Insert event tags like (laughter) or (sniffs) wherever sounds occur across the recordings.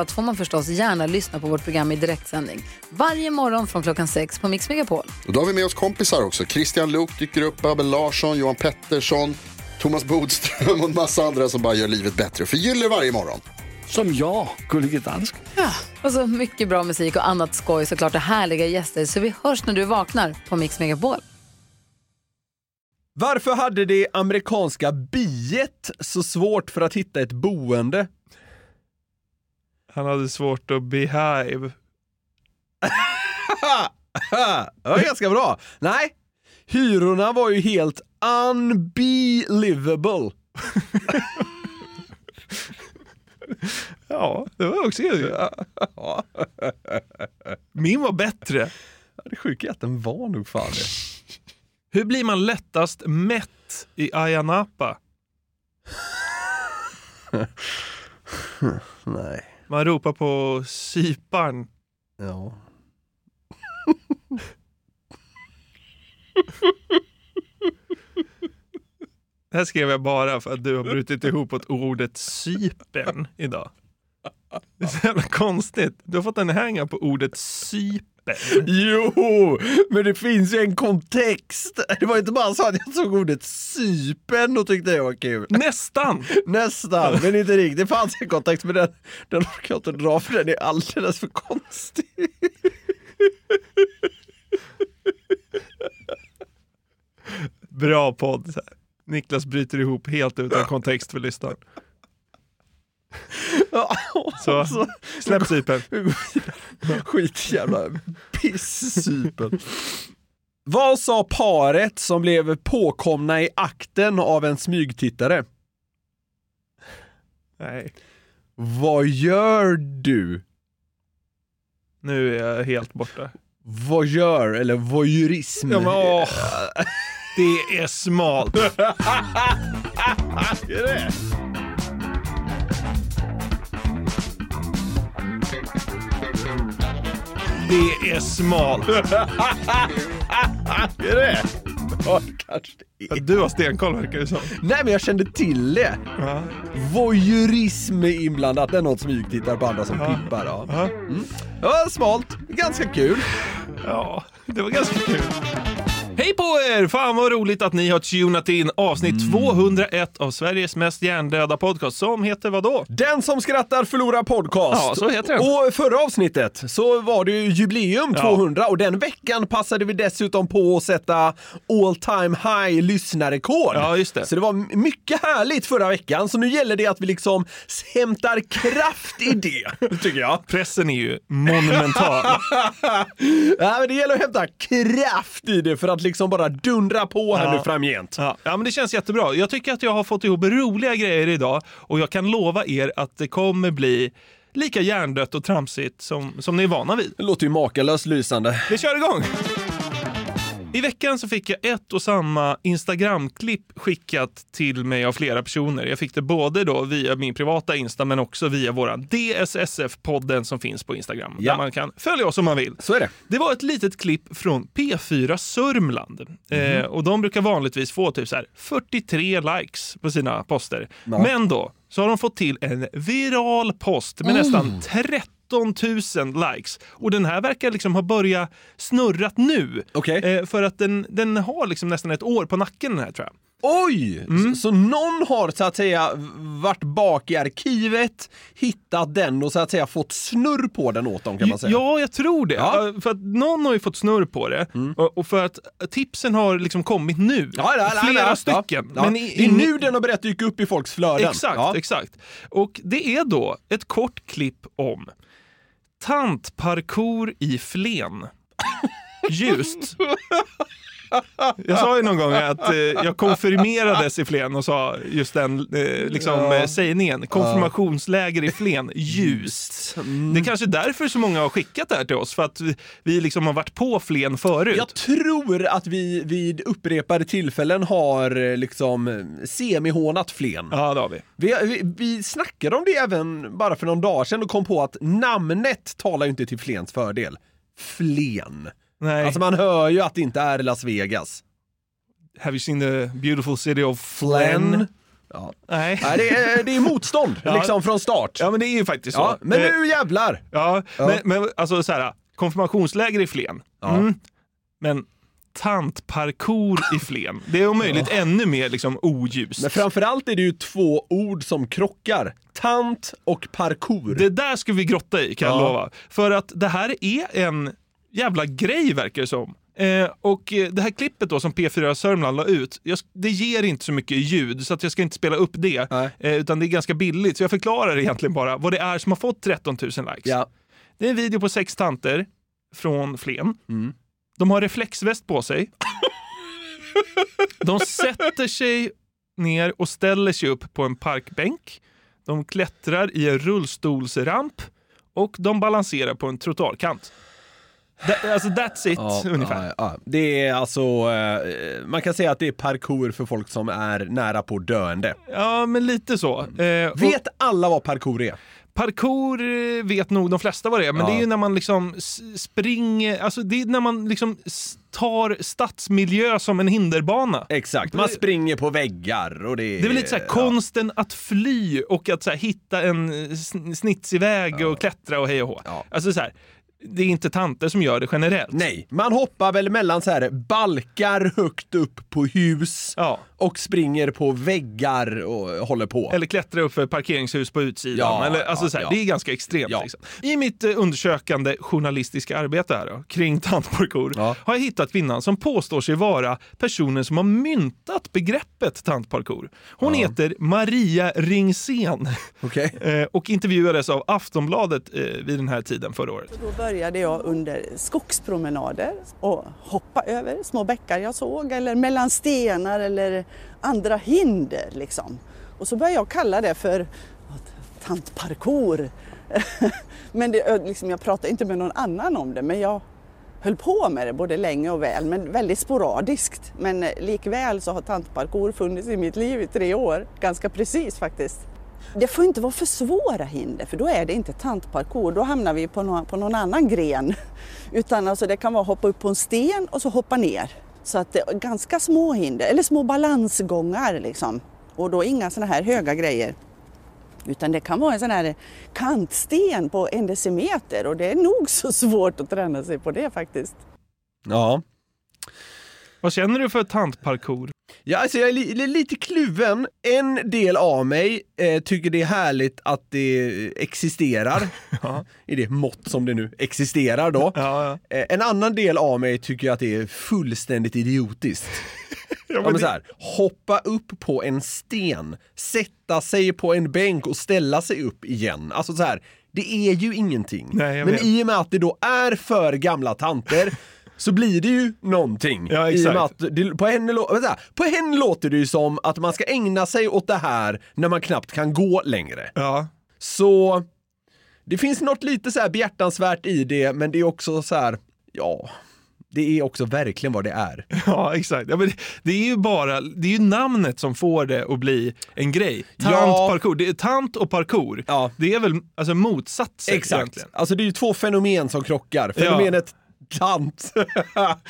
allt får man förstås gärna lyssna på vårt program i direktsändning. Varje morgon från klockan sex på Mix Megapol. Och då har vi med oss kompisar också. Christian Luuk dyker upp, Abel Larsson, Johan Pettersson, Thomas Bodström och en massa andra som bara gör livet bättre och förgyller varje morgon. (laughs) Som jag, Gullige Dansken. Och så mycket bra musik och annat skoj såklart och härliga gäster. Så vi hörs när du vaknar på Mix Megapol. Varför hade det amerikanska biet så svårt för att hitta ett boende? Han hade svårt att behive. Äh, Det var ganska bra. Nej, hyrorna var ju helt unbelievable. Ja, det var också (laughs) Min var bättre. Det sjuka är att den var nog fan det. Hur blir man lättast mätt i Ayia Napa? Nej. Man ropar på syparn. Ja. Det här skrev jag bara för att du har brutit ihop åt ordet sypen idag. Det är så jävla konstigt. Du har fått en hänga på ordet sypen. Jo, men det finns ju en kontext. Det var inte bara så att jag såg ordet sypen och tyckte det var kul. Nästan! Nästan, men inte riktigt. Det fanns en kontext men den, den orkar jag inte dra för den är alldeles för konstig. Bra podd. Så här. Niklas bryter ihop helt utan kontext för lyssnaren. Ja, (laughs) Så, så- släpp sypen. vi går vidare. (laughs) Skit i jävla piss-sypen. Vad sa paret som blev påkomna i akten av en smygtittare? Nej, Vad gör du? nu är jag helt borta. Vad gör eller voyeurism? Ja, men, åh, (laughs) det (laughs) är smalt. Det är smalt. Är det? Ja, kanske det är. Du har stenkoll verkar det som. Nej, men jag kände till det. Ja. Voyeurism är inblandat. Det är någon smygtittar på andra som pippar. Ja. Ja. Det var smalt, ganska kul. Ja, det var ganska kul. Hej på er! Fan vad roligt att ni har tunat in avsnitt 201 av Sveriges mest hjärndöda podcast som heter vadå? Den som skrattar förlorar podcast. Ja, så heter den. Och förra avsnittet så var det ju jubileum Ja. 200 och den veckan passade vi dessutom på att sätta all time high lyssnarrekord. Ja, just det. Så det var m- mycket härligt förra veckan, så nu gäller det att vi liksom hämtar kraft i det, (laughs) tycker (laughs) jag. Pressen är ju (laughs) monumental. Ja, men det gäller att hämta kraft i det för att liksom bara dundra på här Ja. nu framgent. Ja, ja, men det känns jättebra. Jag tycker att jag har fått ihop roliga grejer idag och jag kan lova er att det kommer bli lika hjärndött och tramsigt som, som ni är vana vid. Det låter ju makalöst lysande. Vi kör igång! I veckan så fick jag ett och samma Instagram-klipp skickat till mig av flera personer. Jag fick det både då via min privata Insta men också via våran DSSF-podden som finns på Instagram. Ja. Där man kan följa oss om man vill. Så är det. Det var ett litet klipp från P4 Sörmland. Eh, Mhm. och de brukar vanligtvis få typ så här 43 likes på sina poster. Men då så har de fått till en viral post med nästan 13 000 likes. Och den här verkar liksom ha börjat snurrat nu. Okej. Eh, för att den, den har liksom nästan ett år på nacken den här tror jag. Oj! Mm. Så, så någon har så att säga varit bak i arkivet, hittat den och så att säga fått snurr på den åt dem kan man säga. Ja, jag tror det. Ja. Mm. Eh, För att någon har ju fått snurr på det och och för att tipsen har liksom kommit nu. Ja, ja, ja, Flera ja, ja. stycken. Ja. Men det är ingen- nu den har börjat dyka upp i folks flöden. Exakt, Ja. exakt. Och det är då ett kort klipp om (laughs) tantparkour i Flen. Ljust. Jag sa ju någon gång att eh, jag konfirmerades i Flen och sa just den eh, liksom, eh, sägningen. Konfirmationsläger i Flen, ljust. Det är kanske är därför så många har skickat det här till oss, för att vi, vi liksom har varit på Flen förut. Jag tror att vi vid upprepade tillfällen har eh, liksom semihånat Flen. Ja, det har vi. Vi, vi, vi snackade om det även bara för någon dag sedan och kom på att namnet talar ju inte till Flens fördel. Flen. Nej. Alltså man hör ju att det inte är Las Vegas. Have you seen the beautiful city of Flen? Flen. Ja. Nej. Nej, det är, det är motstånd Ja. liksom från start. Ja, men det är ju faktiskt så. Ja, men Eh, nu jävlar! Ja, Men, men alltså så här, konfirmationsläger i Flen. Mm. Men tantparkour i Flen, det är om möjligt ännu mer liksom oljust. Men framförallt är det ju två ord som krockar. Tant och parkour. Det där ska vi grotta i kan jag Ja. lova. För att det här är en jävla grej verkar det som. Eh, och eh, det här klippet då som P4 Sörmland la ut, jag, sk- det ger inte så mycket ljud så att jag ska inte spela upp det. Nej. Eh, utan det är ganska billigt så jag förklarar egentligen bara vad det är som har fått 13 000 likes. Ja. Det är en video på sex tanter från Flen. Mm. De har reflexväst på sig. De sätter sig ner och ställer sig upp på en parkbänk. De klättrar i en rullstolsramp och de balanserar på en trottoarkant. That, alltså that's it Ja, (laughs) ungefär. ja, ja. Det är alltså, eh, man kan säga att det är parkour för folk som är nära på döende. Ja, men lite så. Eh, och- Mm. Vet alla vad parkour är? Parkour eh, vet nog de flesta vad det är, men Ja. det är ju när man liksom s- springer, alltså det är när man liksom s- tar stadsmiljö som en hinderbana. Exakt, man springer på väggar och det är... Det är väl lite så här konsten att fly och att så här hitta en eh, sn- snitsig väg och klättra och hej och hå. Ja. Alltså så här, det är inte tanter som gör det generellt. Nej, man hoppar väl mellan så här balkar högt upp på hus Ja. och springer på väggar och håller på. Eller klättra upp för parkeringshus på utsidan. Ja, Eller, alltså ja, så här, ja. Det är ganska extremt. Ja. Liksom. I mitt eh, undersökande journalistiska arbete här då, kring tantparkour Ja. har jag hittat kvinnan som påstår sig vara personen som har myntat begreppet tantparkour. Hon heter Maria Ringsen Okej. eh, och intervjuades av Aftonbladet eh, vid den här tiden förra året. Då började jag under skogspromenader och hoppa över små bäckar jag såg eller mellan stenar eller andra hinder liksom. Och så började jag kalla det för tantparkour. (laughs) men det, liksom, jag pratade inte med någon annan om det men jag höll på med det både länge och väl men väldigt sporadiskt. Men eh, likväl så har tantparkour funnits i mitt liv i tre år, ganska precis faktiskt. Det får inte vara för svåra hinder för då är det inte tantparkour, då hamnar vi på någon, på någon annan gren. (laughs) Utan alltså det kan vara hoppa upp på en sten och så hoppa ner. Så att det är ganska små hinder, eller små balansgångar liksom. Och då inga sådana här höga grejer. Utan det kan vara en sån här kantsten på en decimeter och det är nog så svårt att träna sig på det faktiskt. Ja. Vad känner du för tantparkour? Ja, alltså jag är li- li- lite kluven. En del av mig eh, tycker det är härligt att det eh, (laughs) existerar. I det mått som det nu existerar då. Ja, Eh, en annan del av mig tycker att det är fullständigt idiotiskt. Ja, men så här, hoppa upp på en sten, sätta sig på en bänk och ställa sig upp igen. Alltså så här, det är ju ingenting. Nej, jag men vet. i och med att det då är för gamla tanter så blir det ju någonting. Ja, I och med exakt. att det, på, henne, lå- vänta, på henne låter det ju som att man ska ägna sig åt det här när man knappt kan gå längre. ja. (laughs) Så det finns något lite så här behjärtansvärt i det, men det är också så här, ja, det är också verkligen vad det är. Ja, exakt. Ja, men det- det är ju bara det är ju namnet som får det att bli en grej. Tant, Ja. parkour. Det är tant och parkour. Ja. Det är väl alltså, motsatser egentligen. Alltså det är ju två fenomen som krockar. Ja. Fenomenet tant (laughs)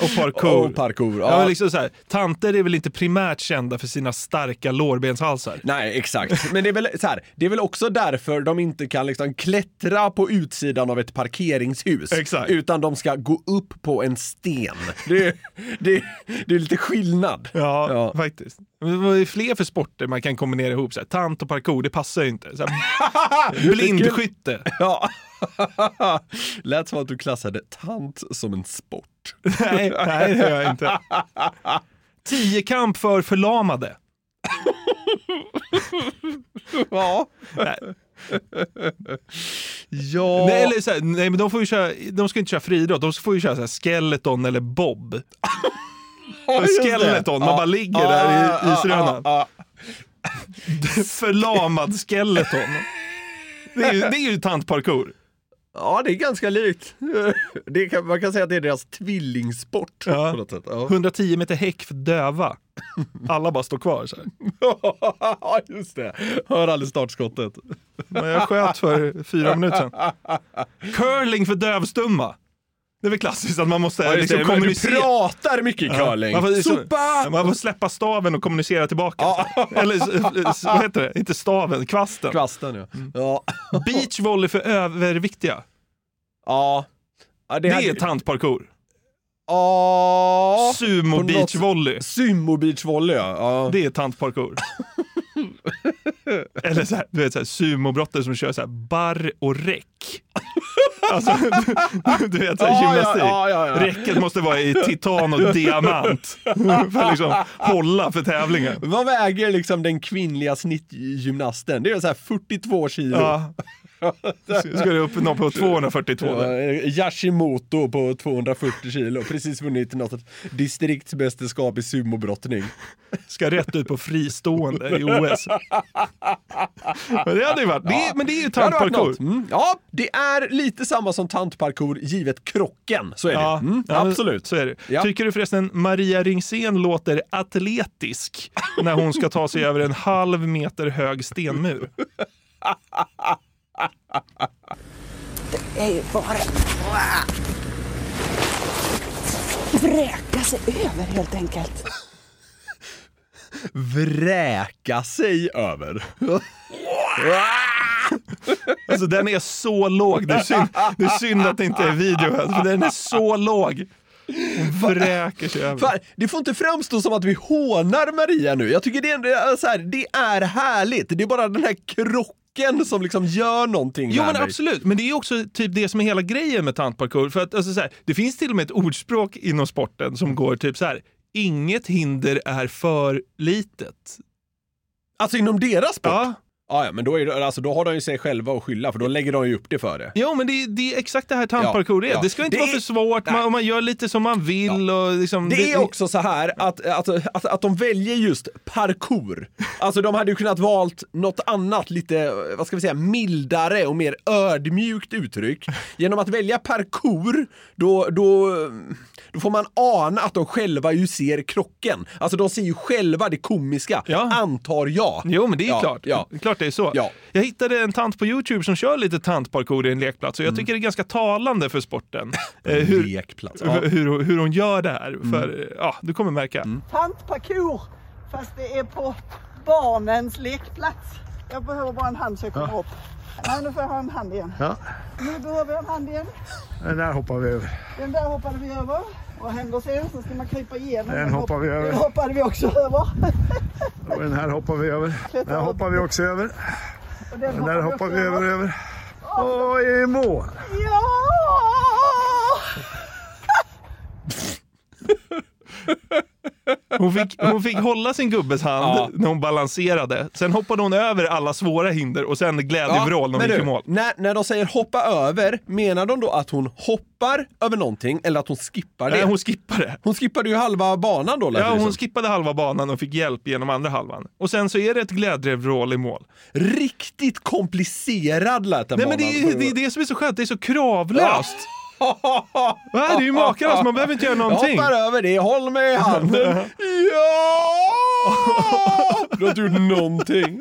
Och parkour. och parkour. Ja. Ja. men liksom så här, tanter är väl inte primärt kända för sina starka lårbenshalsar? Nej, exakt. Men det är, väl så här, det är väl också därför de inte kan liksom klättra på utsidan av ett parkeringshus. Exakt. Utan de ska gå upp på en sten. Det, är- det, är- det är lite skillnad. Ja, (laughs) faktiskt. Men Vad är fler för sporter man kan kombinera ihop? Så här, tant och parkour, det passar ju (laughs) inte. Så här, blindskytte. Ja. (laughs) Lät som att du klassade tant som en sport. nej, nej, det gör jag inte. Tiokamp för förlamade. Ja. ja. Nej, eller så här, nej, men de, får ju köra, de ska inte köra friidrott, de får ju köra så här skeleton eller bob. För skeleton, man bara ligger där i isrönan. (laughs) Förlamad skeleton. Det är ju, det är ju tantparkour. Ja, det är ganska likt. (laughs) Det kan, man kan säga att det är deras tvillingsport. Ja. På något sätt. Ja. 110 meter häck för döva. Alla bara står kvar så här. Ja, (laughs) just det. Hör aldrig startskottet. Men jag sköt för fyra minuter sedan. Curling för dövstumma. Det är väl klassiskt att man måste liksom, men du kommunicera. pratar mycket curling. Man får, liksom- Sopa! man får släppa staven och kommunicera tillbaka. (laughs) Eller s- s- vad heter det? Inte staven, kvasten. Kvasten ja. Mm. Ja. Beachvolley för överviktiga. ja. Ja, Det hade- är tantparkour. Ja. Sumo på något- beachvolley. Sumo beachvolley ja. ja. Det är tantparkour. (laughs) Eller så här, du vet så här, sumobrottare som kör så här barr och (laughs) räck. Alltså, du vet så här, Ja, ja, gymnastik. ja, ja, ja. Räcket måste vara i titan och (laughs) diamant för att liksom hålla för tävlingen. Vad väger liksom den kvinnliga snittgymnasten? Det är så här 42 kilo. Ja. Så (laughs) Ska du upp nå på 242 där. Ja, eh, Yashimoto på 240 kilo, precis vunnit något distriktsmästerskap i sumobrottning. ska rätt ut på fristående i (laughs) OS. Men det hade ju varit, det, är- men det är ju Det hade varit tantparkour. något. Mm. Ja, det är lite samma som tantparkour givet krocken. Så är det. Ja, Mm, ja, men absolut. Så är det. Ja. Tycker du förresten Maria Ringsén låter atletisk när hon ska ta sig över en halv meter hög stenmur? Det är ju bara vräka sig över helt enkelt. Vräka sig (laughs) över. Alltså den är så låg. Det är synd, det är synd att det inte är video här, för den är så låg. Hon vräker sig över. Fan, det får inte framstå som att vi hånar Maria nu. Jag tycker det är, en- så här, det är härligt. Det är bara den här krocken som liksom gör någonting Jo med men mig. absolut, men det är också typ det som är hela grejen med tantparkour. För att, alltså, så här, det finns till och med ett ordspråk inom sporten som går typ så här. Inget hinder är för litet. Alltså inom deras sport. Ja, Ja, ja men då, är det, alltså, då har de ju sig själva att skylla för då lägger de ju upp det för det. jo, men det, det är exakt det här tantparkour är. Ja, ja. Det ska inte Det vara är- för svårt, man, och man gör lite som man vill. Och liksom, Det är också så här att, att, att, att de väljer just parkour. Alltså de hade ju kunnat valt något annat lite, vad ska vi säga, mildare och mer ödmjukt uttryck. Genom att välja parkour, då, då, då får man ana att de själva ju ser krocken. Alltså de ser ju själva det komiska, Ja. antar jag. Jo, men det är ja, klart. Ja. Klart det är så. Ja. Jag hittade en tant på Youtube som kör lite tantparkour i en lekplats Mm. och jag tycker det är ganska talande för sporten. eh, hur, Lekplats. (laughs) (laughs) Ja. Mm. hur, hur hon gör det här. För, eh, ja, du kommer märka. Tantparkour, fast det är på barnens lekplats. Jag behöver bara en hand så jag kommer upp. Nej, nu får jag ha en hand igen. Nu behöver jag en hand igen. Den där hoppade vi över. Den där hoppade vi över. Vad händer sen? Sen ska man krypa igenom. Den hoppar vi över. Den hoppade vi också över. (laughs) Den här hoppar vi över. Den här hoppar vi också över. Och den Den där hoppar vi över. över. Och i mål! Ja! Hon fick, hon fick hålla sin gubbes hand när hon balanserade. Sen hoppade hon över alla svåra hinder och sen glädjevrål när hon men gick du, i mål. När, när de säger hoppa över, menar de då att hon hoppar över någonting eller att hon skippar det? Nej, Eh, hon skippade. Hon skippade ju halva banan då lät det Ja, som. hon skippade halva banan och fick hjälp genom andra halvan. Och sen så är det ett glädjevrål i mål. Riktigt komplicerad lät den Nej men det banan. är, det är det som är så skönt, det är så kravlöst. Va? Det är ju makalöst, man behöver inte göra Jag någonting. hoppar över det, håll mig i (laughs) handen. ja! Du har inte gjort någonting.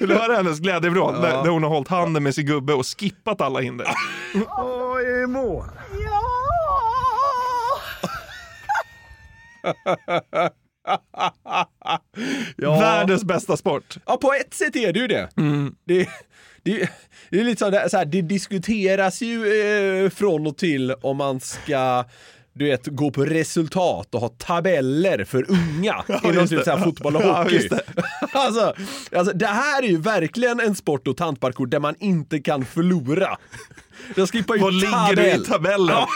Vill du höra hennes glädjevrål? När, när hon har hållit handen med sin gubbe och skippat alla hinder. Och i mål! Ja! Ja. Världens bästa sport. ja, på ett sätt är det ju det. Mm. Det, det, det är lite så här, så här, det diskuteras ju eh, från och till om man ska du vet, gå på resultat och ha tabeller för (laughs) unga inom just typ det. så här fotboll och Ja, hockey. just det. (laughs) alltså, alltså, det här är ju verkligen en sport och tantparkour där man inte kan förlora. Jag skippar ju Vad ligger du i tabell. tabellen? (laughs)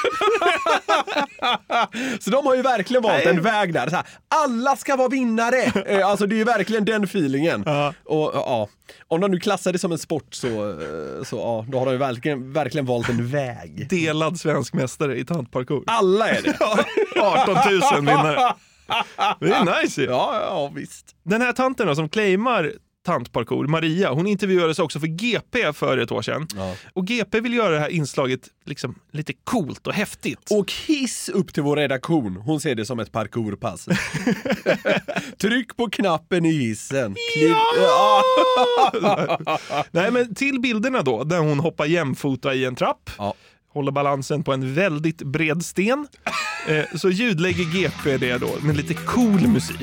(laughs) Så de har ju verkligen valt en väg där. Så här, alla ska vara (laughs) vinnare! Eh, Alltså det är ju verkligen den feelingen. Och ja, om de nu klassar det som en sport så, eh, så ja, då har de ju verkligen, verkligen valt en väg. (laughs) Delad svensk mästare i tantparkour. Alla är det! (laughs) 18 000 vinnare. Det är nice ju. Ja, ja, visst. Den här tanten då, som claimar tantparkour, Maria, hon intervjuades också för GP för ett år sedan. Och GP vill göra det här inslaget liksom lite coolt och häftigt. Och hiss upp till vår redaktion. Hon ser det som ett (laughs) parkourpass. Tryck på knappen i hissen. Kliv- Ja! Nej, men till bilderna då, där hon hoppar jämfota i en trapp, Ja. håller balansen på en väldigt (laughs) bred sten, eh, så ljudlägger GP det då med lite cool musik.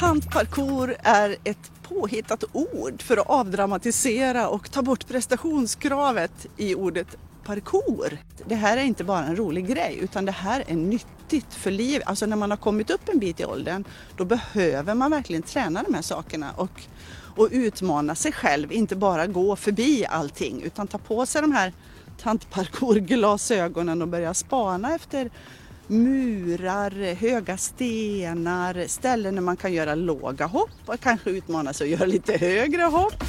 Tantparkour är ett påhittat ord för att avdramatisera och ta bort prestationskravet i ordet parkour. Det här är inte bara en rolig grej utan det här är nyttigt för livet. Alltså när man har kommit upp en bit i åldern då behöver man verkligen träna de här sakerna och, och utmana sig själv, inte bara gå förbi allting utan ta på sig de här tantparkourglasögonen och börja spana efter murar, höga stenar, ställen där man kan göra låga hopp och kanske utmana sig att göra lite högre hopp.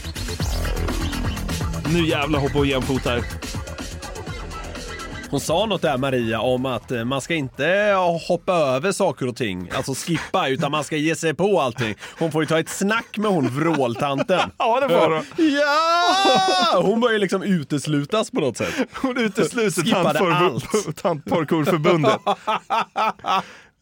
Nu jävlar hoppar hon jämfotar. Hon sa något där Maria om att eh, man ska inte eh, hoppa över saker och ting, alltså skippa, utan man ska ge sig på allting. Hon får ju ta ett snack med hon vråltanten. (laughs) Ja, det var hon. Ja! Hon börjar liksom uteslutas på något sätt. (laughs) Hon utesluter Skippade tantparkour- allt. (laughs) Tantparkourförbundet. (laughs)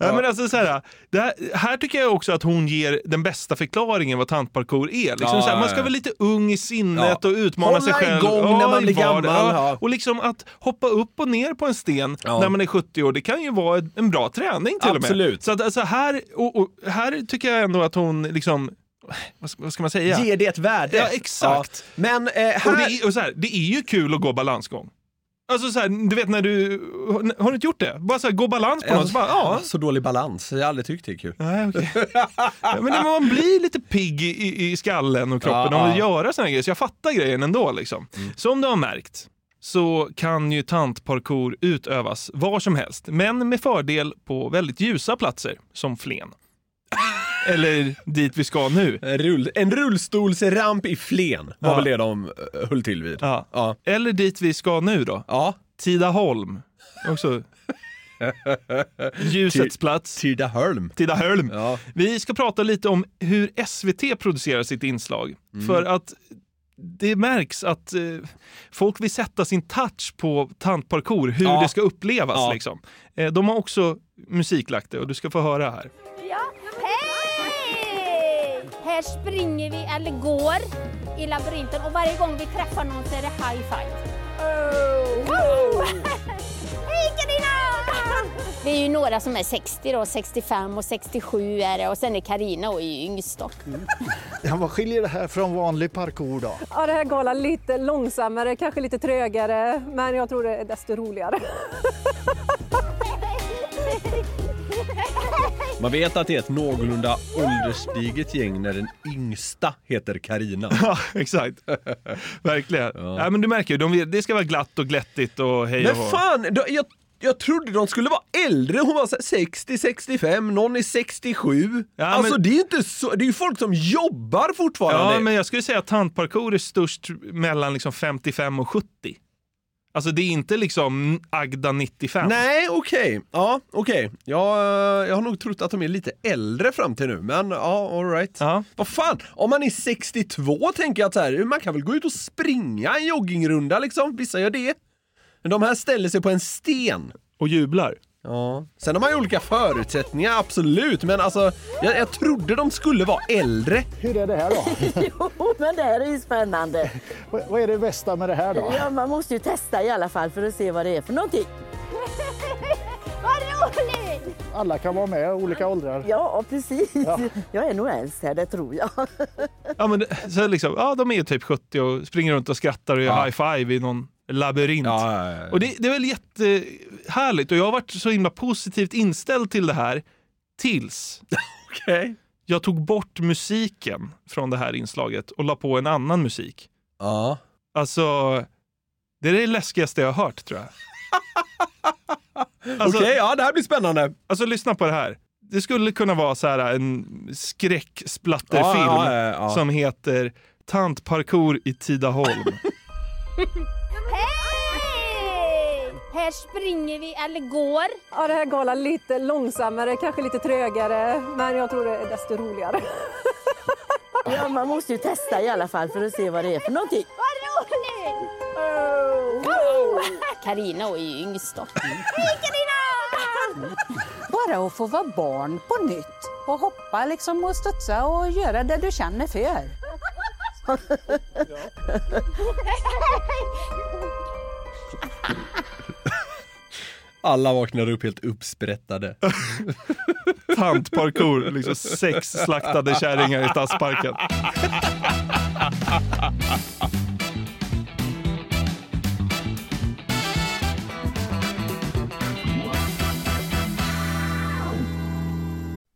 Nej, men alltså, så här, det här, här tycker jag också att hon ger den bästa förklaringen vad tantparkour är. Liksom, Ja, så här, ja, man ska ja. vara lite ung i sinnet Ja. och utmana sig Hålla själv. igång när man i blir vardagen. gammal, ja. Och liksom att hoppa upp och ner på en sten Ja. när man är 70 år, det kan ju vara ett- en bra träning till och med. Absolut. Så att, alltså, här, och, och, här tycker jag ändå att hon, liksom, vad, ska- vad ska man säga? Ger det ett värde? Ja, exakt. Ja. Men eh, Och det, här... är, och så här, det är ju kul att gå balansgång. Alltså så här, du vet när du, har du inte gjort det? Bara så här, gå balans på något, så bara, ja. Så dålig balans, jag har aldrig tyckt det är kul. Nej, okej. ja, men det- man blir lite pigg i- i, i skallen och kroppen Ja, av att ja. Mm. göra såna här grejer, så jag fattar grejen ändå. Liksom. Som du har märkt så kan ju tantparkour utövas var som helst, men med fördel på väldigt ljusa platser, som Flen. Eller dit vi ska nu. En, rull, en rullstolsramp i Flen var Ja. väl det de eh, höll till vid. Ja. Ja. Eller dit vi ska nu då. ja. Tidaholm. Också. Ljusets plats. Tidaholm. Tidaholm. Ja. Vi ska prata lite om hur SVT producerar sitt inslag. Mm. För att det märks att eh, folk vill sätta sin touch på tantparkour, hur Ja. det ska upplevas. Ja. Liksom. Eh, de har också musiklagt det och du ska få (laughs) höra här. Ja, hej! Här springer vi, eller går, i labyrinten och varje gång vi träffar någon så är det high five. Wow! Hej Carina! Vi är ju några som är 60 då, 65 och 67 är det och sen är Carina och är ju yngst då. Ja, vad skiljer det här från vanlig parkour då? Ja, det här går alla lite långsammare, kanske lite trögare, men jag tror det är desto roligare. Man vet att det är ett någorlunda ålderstiget gäng när den yngsta heter (laughs) Karina. Ja, exakt. Verkligen. Ja, men du märker ju, de vill, det ska vara glatt och glättigt och hej Men och hå. fan, då, jag, jag trodde de skulle vara äldre. Hon var så här 60, 65, någon är 67. Ja, alltså men- det är ju inte så, det är ju folk som jobbar fortfarande. Ja, men jag skulle säga att tantparkour är störst mellan liksom 55 och 70. Alltså det är inte liksom Agda 95. Nej, okej. Ja, okej. Jag, eh, jag har nog trott att de är lite äldre fram till nu, men ja, alright. Ja. Vad fan, om man är 62 tänker jag att så här, man kan väl gå ut och springa en joggingrunda liksom. Vissa gör det. Men de här ställer sig på en sten. Och jublar. Ja. Sen har man ju olika förutsättningar, absolut. Men alltså, jag, jag trodde de skulle vara äldre. Hur är det här då? jo, (laughs) men det här är ju spännande. Vad- vad är det bästa med det här då? Ja, man måste ju testa i alla fall för att se vad det är för någonting. (laughs) Vad roligt! Alla kan vara med, olika åldrar. Ja, precis. Jag är nog äldst här, det tror jag. Ja, men det- så liksom, ja, de är ju typ 70 och springer runt och skrattar och gör Ja. high-five i någon labyrint. Ja, ja, ja. Och det, det är väl jättehärligt och jag har varit så himla positivt inställd till det här tills (laughs) Okej. jag tog bort musiken från det här inslaget och la på en annan musik. Ja. Alltså, det är det läskigaste jag har hört tror jag. Alltså, Okej, ja det här blir spännande. alltså lyssna på det här. Det skulle kunna vara så här en skräcksplatterfilm Ja, ja, ja, ja. som heter Tantparkour i Tidaholm. Hej! Här springer vi eller går. Ja, det här galet lite långsammare, kanske lite trögare, men jag tror det är desto roligare. Ja, man måste ju testa i alla fall för att se vad det är för någonting. Vad roligt! Wow! Carina Oh. är ju yngst då. Hej Carina! Bara att få vara barn på nytt och hoppa liksom och studsa och göra det du känner för. Alla vaknar upp helt uppsprättade. Tantparkour, liksom sex slaktade kärringar i stadsparken.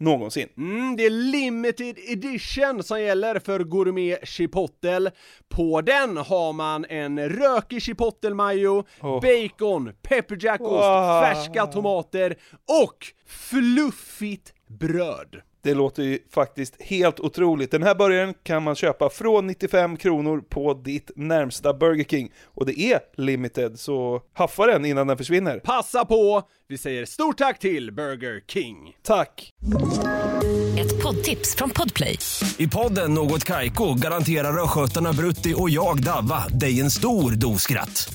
någonsin. Mm, det är limited edition som gäller för gourmet chipotle. På den har man en rökig chipotle-majo, bacon, pepperjackost, Wow. färska tomater och fluffigt bröd. Det låter ju faktiskt helt otroligt. Den här burgaren kan man köpa från 95 kronor på ditt närmsta Burger King. Och det är limited, så haffa den innan den försvinner. Passa på! Vi säger stort tack till Burger King. Tack! Ett poddtips från Podplay. I podden Något Kaiko garanterar östgötarna Brutti och jag, Davva, dig en stor dos skratt.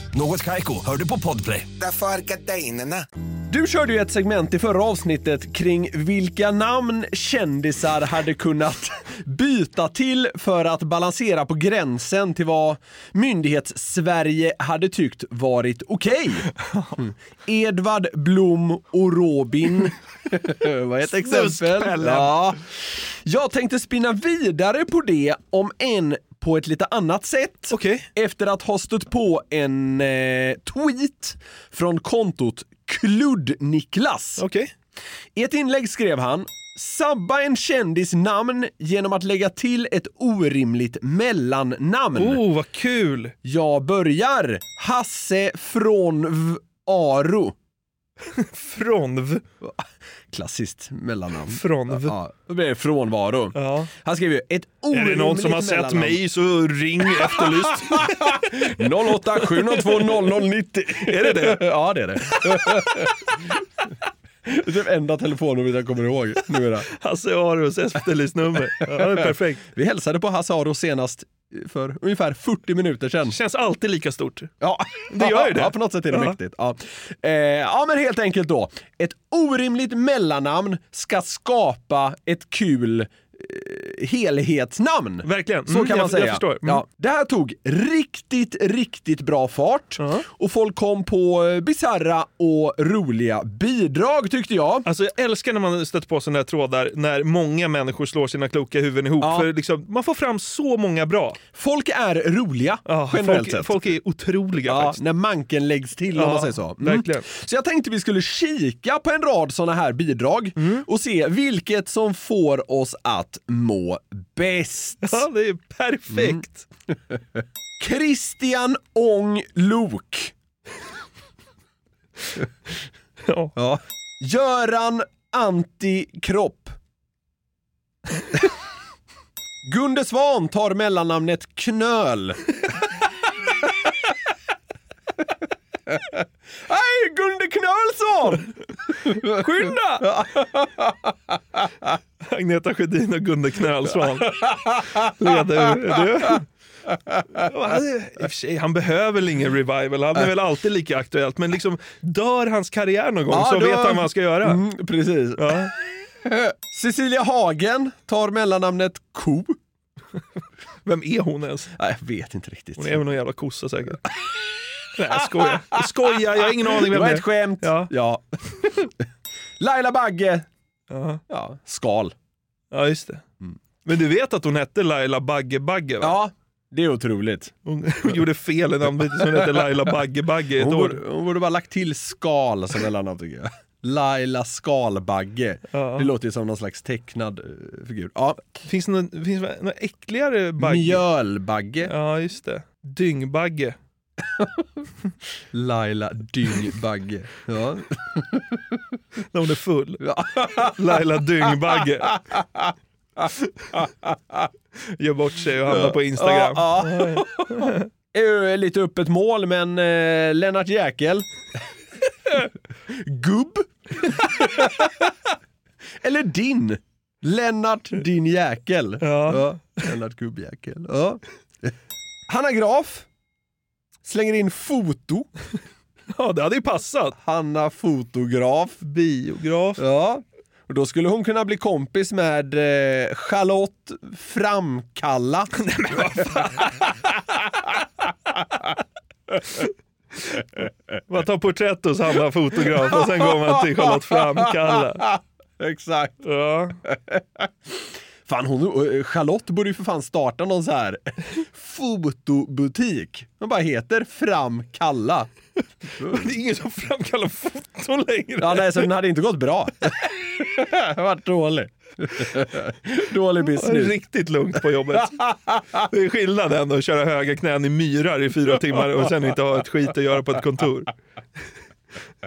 Något Kaiko, hör du på podplay. Därför är gardinerna. Du körde ju ett segment i förra avsnittet kring vilka namn kändisar hade kunnat (laughs) byta till för att balansera på gränsen till vad myndighets-Sverige hade tyckt varit okej. Mm. Edvard Blom och Robin var ett exempel. Snuskpellen. Ja. Jag tänkte spinna vidare på det om en på ett lite annat sätt efter att ha stött på en eh, tweet från kontot Kludd-Niklas. I ett inlägg skrev han Sabba en kändis namn genom att lägga till ett orimligt mellannamn. Oh, vad kul! Jag börjar Hasse från V- Aro. Frånv? Klassiskt mellannamn. Frånv. Ja, då blir det frånvaro. Han skrev ju ett Är orimligt det någon som har sett mellannamn. mig så (laughs) ring efterlyst. 08 702 0090. Är det (laughs) det? Ja, det är det. (laughs) Det är det enda telefonnumret jag kommer ihåg numera. (laughs) Hasse Aros efterlystnummer. Ja, det är perfekt. Vi hälsade på Hasse Aro senast för ungefär 40 minuter sedan. Känns alltid lika stort. Ja, (laughs) Det gör ju det. Ja, på något sätt är det Ja. mäktigt. Ja. Eh, ja, men helt enkelt då. Ett orimligt mellannamn ska skapa ett kul eh, helhetsnamn. Verkligen. Så Mm, kan man jag- jag säga. förstår. Mm. Ja, det här tog riktigt, riktigt bra fart och folk kom på eh, bisarra och roliga bidrag tyckte jag. Alltså jag älskar när man stöter på sådana här trådar när många människor slår sina kloka huvuden ihop. För liksom, man får fram så många bra. Folk är roliga generellt folk, sett. folk är otroliga Ja, faktiskt. när manken läggs till Ja, om man säger så. Mm. verkligen. Så jag tänkte vi skulle kika på en rad sådana här bidrag Mm. och se vilket som får oss att må bäst. Ja, det är perfekt. Christian Ång Lok. ja. Göran Antikropp. Gunde Svan tar mellannamnet Knöl. Hej, Gunde Knölsson! (laughs) Skynda! Agneta Sjödin och (laughs) Gunde Knölsvan. Leder du? Ja, I och för sig, han behöver väl ingen revival, han är väl alltid lika aktuellt. Men liksom, dör hans karriär någon gång Ja, så då- vet han vad han ska göra. Mm, precis. Ja. Cecilia Hagen tar mellannamnet Ko. Vem är hon ens? Nej, jag vet inte riktigt. Hon är väl någon jävla kossa säkert. Nej, jag skojar. Jag skojar, jag har ingen aning Det vem var det ett är. skämt. Ja. (laughs) Laila Bagge. Ja. Skal. Ja, just det. Men du vet att hon hette Laila Bagge Bagge? Va? Mm. Ja, det är otroligt. Hon, hon (laughs) gjorde fel i namnbytet så hon hette Laila Bagge Bagge i ett Hon år. borde, hon borde bara lagt till skal som mellannamn tycker jag. Laila Skalbagge. Det låter ju som någon slags tecknad eh, figur. Ja. Finns det någon, finns det någon äckligare bagge? Mjölbagge. Ja, just det. Dyngbagge. Laila Dyngbagge. Ja. När hon är full. (laughs) Laila Dyngbagge. (laughs) Gör bort sig och hamnar på Instagram. Ja, ja. Ö, Lite öppet mål, men eh, Lennart (laughs) Jäkel. Gubb. Eller din. Lennart din jäkel. Ja, Lennart gubbjäkel. Ja. Hanna Graf. Slänger in foto. Ja, det hade ju passat. Hanna fotograf. Biograf. Ja. Och då skulle hon kunna bli kompis med eh, Charlotte (laughs) Framkalla. Nej, men vad (laughs) Man tar porträtt hos Hanna fotograf och sen går man till (laughs) Charlotte Framkalla. Exakt. Ja. (laughs) Fan, hon, eh, Charlotte borde ju för fan starta någon så här fotobutik. Den bara heter Framkalla. Det är ingen som framkallar foton längre. Ja, nej, så den hade inte gått (laughs) bra. Det var dålig. Dålig business. Riktigt lugnt (laughs) på jobbet. Det är skillnad ändå att köra höga knän i myrar i fyra timmar och sen inte ha ett skit att göra på ett kontor.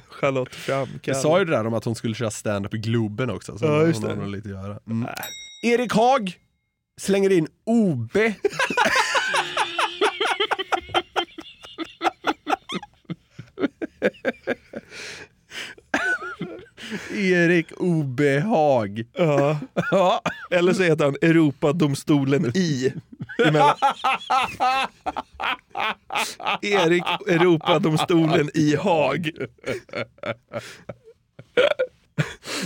Charlotte Vi Framkalla. sa ju det där om att hon skulle köra stand-up i Globen också. Så Ja, hon just har det. nog lite att göra. Mm. Erik Haag slänger in OB. Erik Obehag. Ja. Eller så heter han Europadomstolen I. Emellan. Erik Europadomstolen i Haag.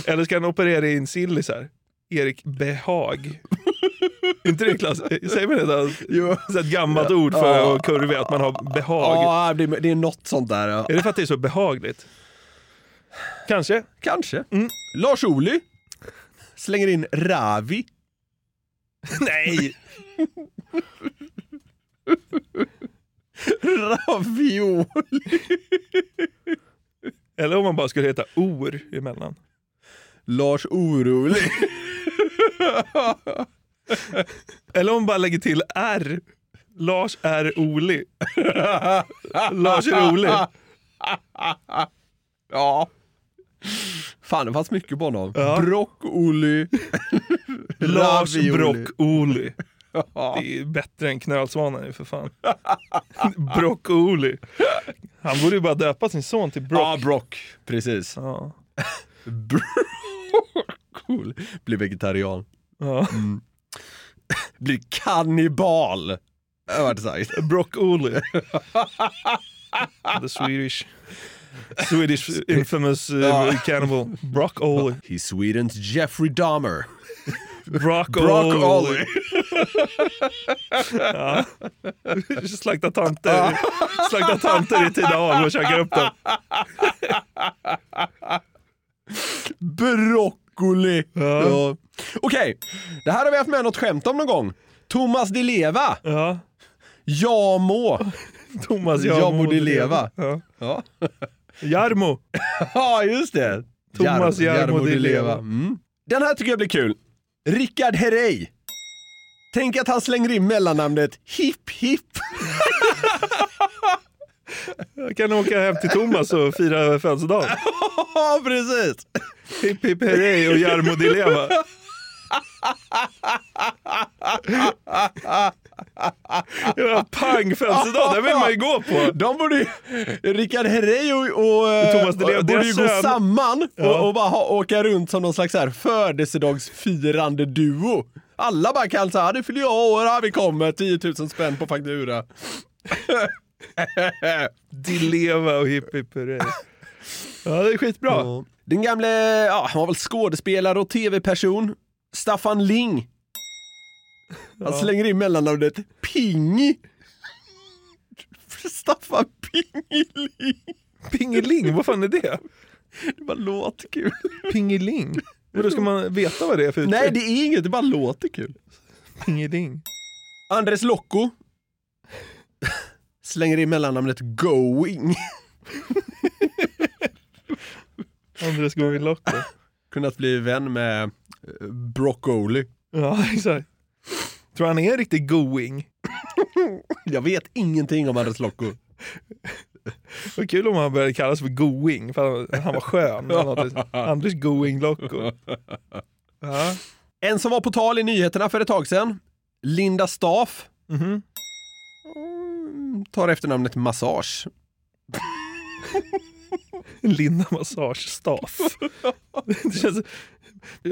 Eller ska han operera in sillisar? Erik Behag. inte det klass? Säger man det? Jo. Så ett gammalt ord för att kurva, att man har behag. Ja, det, det är något sånt där. Ja. Är det för att det är så behagligt? Kanske. Kanske. Mm. Lars Ohly slänger in Ravi. Nej! Ravioli. Eller om man bara skulle heta Or emellan. Lars Orolig. Eller om man bara lägger till R. Lars R. Oli. Lars är rolig. Ja. Fan, det fanns mycket på honom. Ja. Broccoli. (laughs) Lars Ravioli. Broccoli. Det är bättre än Knölsvanen ju för fan. (laughs) Broccoli. Han borde ju bara döpa sin son till Brock. Ja, Brock. Precis. (laughs) Ja. Cool. Blir vegetarian. Ja. Mm. Blir kannibal. Har varit sagt. Broccoli. The Swedish. (laughs) Swedish infamous uh, cannibal. Broccoli. He's Swedens Jeffrey Dahmer. Broccoli. Broccoli. Ja. Slakta tanter. (laughs) Slakta tanter i Tidaholm och käkar upp dem. Broccoli. Ja. Okej, det här har vi haft med något skämt om någon gång. Thomas Di Leva. Ja. Jag må. Thomas Jag må Jarmo Di Leva. Ja. Ja. Jarmo. (laughs) ja, just det. Thomas Jarmo- Jarmo Di Leva. Mm. Den här tycker jag blir kul. Rickard Herrey. Tänk att han slänger in mellannamnet Hipp Hipp. Jag kan åka hem till Thomas och fira födelsedag. (laughs) Ja, precis. Hipp hipp hurrej och Jarmo Di Leva. Ja, pang födelsedag, den vill man ju gå på. De borde ju, Rickard Herrey och, och eh, Thomas Di Leo, borde deras ju gå sön. samman Ja. och, och bara ha, åka runt som någon slags så här födelsedagsfirande duo. Alla bara kan säga, det fyller jag år, här vi kommer, 10 000 spänn på faktura. Di Leva och hipp hipp hurra. Ja, det är skitbra. Den gamle, ja, han var väl skådespelare och tv-person, Staffan Ling. Han Ja. slänger in mellannamnet Pingi. (laughs) Staffan Pingeling. Pingeling, vad fan är det? Det bara låter kul. Pingeling? Men då ska man veta vad det är för uttryck? Nej, det är inget, det bara låter kul. Pingeling. Andres Locko. Slänger in mellannamnet Going. Andres Going Locko. Kunnat bli vän med eh, Broccoli. Ja, exakt. Tror han är riktigt going? Jag vet ingenting om Andres Locko. Vad kul om han började kallas för Going, för han- han var skön. Han (laughs) hade Anders Going Locko. Ja. En som var på tal i nyheterna för ett tag sedan, Linda Staff. Mhm. Mm, Tar efternamnet Massage. Linda Massagestaff. (laughs) Det känns,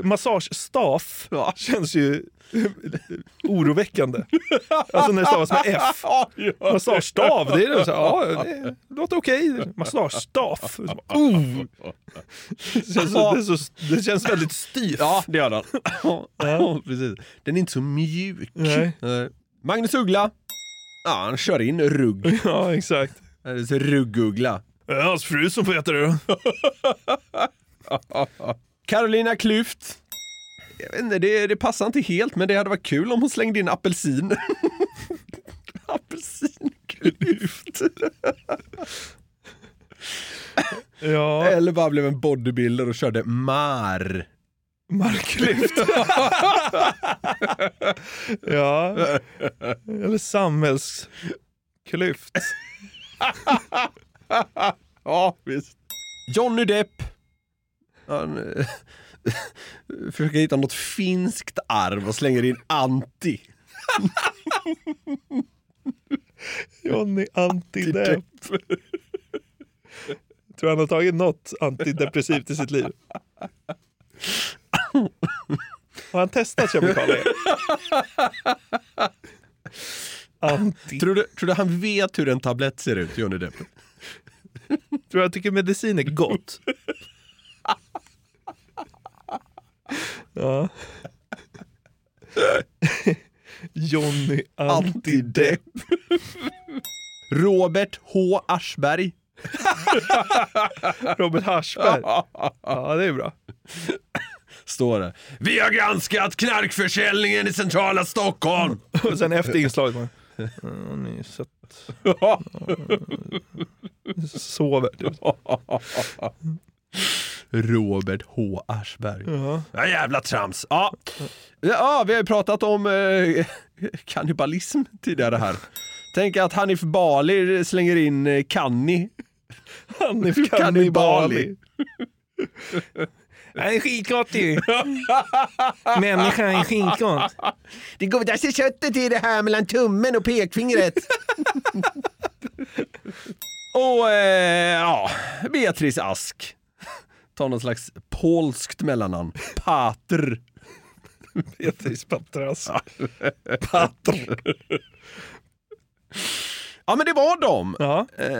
massagestaff känns ju oroväckande. Alltså när det stavas med (laughs) F. Massagestav, det är det. Så, här, ja, det låter okej. Massagestaff. Oh. Det, känns, så- det, är så, det känns väldigt (laughs) styvt. Ja, det gör den. (laughs) Ja, precis. Den är inte så mjuk. Nej. Eh, Magnus Uggla. Ja, han kör in (laughs) rugg. Ja, exakt. Det är så Rugguggla. Ja, Hans fru som får heta det då. Carolina Klüft. Jag vet inte, det, det passar inte helt, men det hade varit kul om hon slängde in apelsin. (laughs) Apelsinklyft. Ja. Eller bara blev en bodybuilder och körde mar. Markklyft. (laughs) ja. Eller samhällsklyft. ja, visst. Johnny Depp. Han eh, (laughs) försöker hitta något finskt arv och slänger in anti. Johnny Antidepp. Tror han har tagit något antidepressivt i sitt liv? Har han testat kemikalier? Anti. Tror du, tror du han vet hur en tablett ser ut, Johnny Depp? Tror jag tycker medicin är gott? Ja. Johnny Antidepp. Robert H (laughs) Aschberg. Robert Haschberg. Ja, det är bra. Står det. Vi har granskat knarkförsäljningen i centrala Stockholm. Och sen efter inslaget man... Ja, ni är sött. Ja. Sover. typ. Robert H Aschberg. Ja. Ja, jävla trams. Ja. ja, vi har ju pratat om eh, (laughs) kannibalism tidigare här. Tänk att Hanif Bali slänger in eh, kanni. Hanif Kannibali. (laughs) Han är skitkort (laughs) ju. Människan är skitkort. Det godaste köttet är det här mellan tummen och pekfingret. (laughs) och eh, ja, Beatrice Ask. Ta någon slags polskt mellannamn. Pater. Beatrice Patras. Pater. Ja men det var dem. Ja. Eh,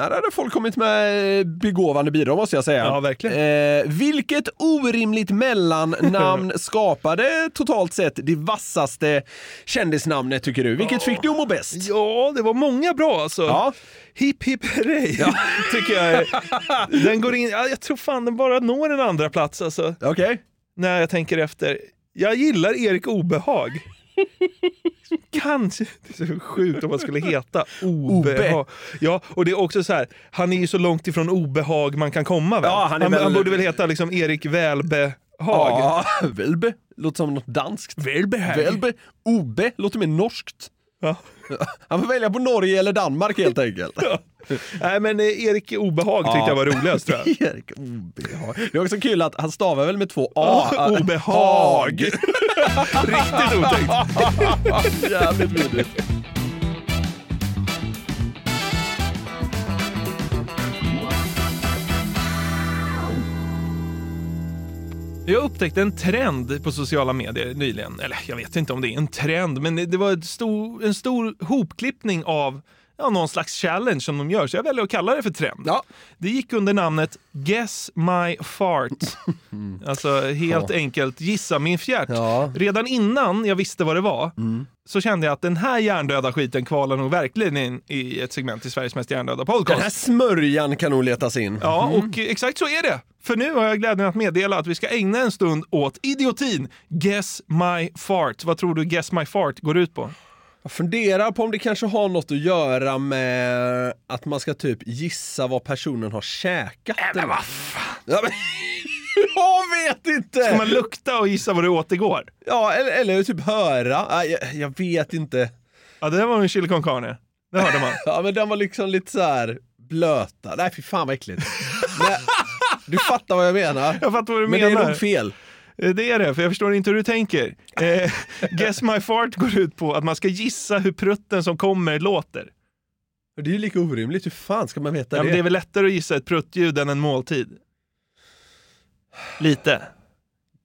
här hade folk kommit med begåvande bidrag måste jag säga. Ja, verkligen. Eh, vilket orimligt (laughs) mellannamn skapade totalt sett det vassaste kändisnamnet tycker du? Vilket fick du att må bäst? Ja, det var många bra alltså. Ja. Hipp hipp hurrej, tycker jag. (laughs) Den går in, ja, jag tror fan den bara når en andra plats alltså. Okej. När jag tänker efter. Jag gillar Erik Obehag. Kanske, det är så sjukt om man skulle heta Obehag. Ja, och det är också så här, han är ju så långt ifrån obehag man kan komma väl? Ja, han är han, väl- borde väl heta liksom Erik Välbehag? Ja, Velbe. Låter som något danskt. Välbehag. Velbe. Obe. Låter mer norskt. (laughs) Han får välja på Norge eller Danmark helt enkelt. Nej men eh, Erik Obehag tyckte jag var roligast tror (laughs) jag. Erik Obehag. Det är också kul att han stavar väl med två A. Ah, obehag. (laughs) Riktigt otäckt. (laughs) Jävligt vidrigt. Jag upptäckte en trend på sociala medier nyligen. Eller jag vet inte om det är en trend, men det var ett stor, en stor hopklippning av ja, någon slags challenge som de gör, så jag väljer att kalla det för trend. Det gick under namnet Guess My (laughs) Fart. Alltså helt Ja. enkelt gissa min fjärt. Redan innan jag visste vad det var Mm. så kände jag att den här hjärndöda skiten kvalar nog verkligen in i ett segment i Sveriges mest hjärndöda podcast. Den här smörjan kan nog letas in. Ja, och eh, exakt så är det. För nu har jag glädjen att meddela att vi ska ägna en stund åt idiotin Guess My Fart. Vad tror du Guess My Fart går ut på? Jag funderar på om det kanske har något att göra med att man ska typ gissa vad personen har käkat. Eller vad fan! Ja, men... (laughs) Jag vet inte! Ska man lukta och gissa vad det åt igår? Ja, eller, eller typ höra. Nej, Jag, jag vet inte. Ja, det var en chili con carne. Det hörde (laughs) man. ja, men den var liksom lite så här blöta. Nej, fy fan vad äckligt. (laughs) Nej, du fattar vad jag menar. Jag fattar vad du men menar. Men det är nog fel. Eh, Det är det, för jag förstår inte hur du tänker. Eh, (laughs) guess My Fart går ut på att man ska gissa hur prutten som kommer låter. Det är ju lika orimligt. Hur fan ska man veta Ja, det? men det är väl lättare att gissa ett pruttljud än en måltid? Lite.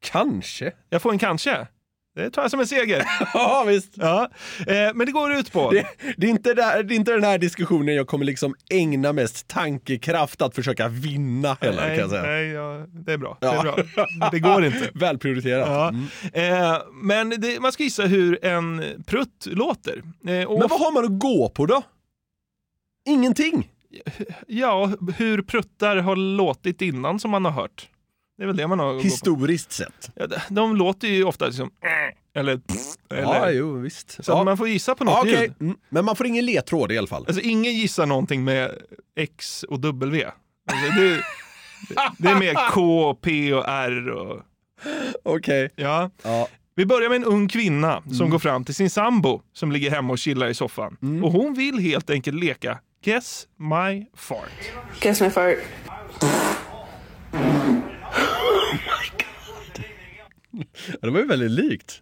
Kanske. Jag får en kanske. Det tar jag som en seger. (laughs) ja, visst. Ja. Eh, men det går ut på... Det, det, är inte där, det är inte den här diskussionen jag kommer liksom ägna mest tankekraft att försöka vinna heller nej, kan jag säga. Nej, ja, det är bra. Det, Ja. Mm. är bra. det (laughs) går inte. Välprioriterat. Ja. Eh, men det, man ska gissa hur en prutt låter. Eh, och Men vad har man att gå på då? Ingenting. Ja, hur pruttar har låtit innan som man har hört. Det är väl det man har Historiskt sett. Ja, de- de låter ju ofta liksom... "Äh", (sniffs) Eller... "Pff", Ja, eller jo, visst. Så ja. att man får gissa på något Ja, okej. ljud. Mm. Men man får ingen ledtråd i alla fall. Alltså ingen gissar någonting med X och W. Alltså, det, det är mer K, P och R och... Okej. Ja. Ja. Vi börjar med en ung kvinna som Mm. går fram till sin sambo som ligger hemma och chillar i soffan. Och hon vill helt enkelt leka Guess my fart. Guess my fart. Det var ju väldigt likt.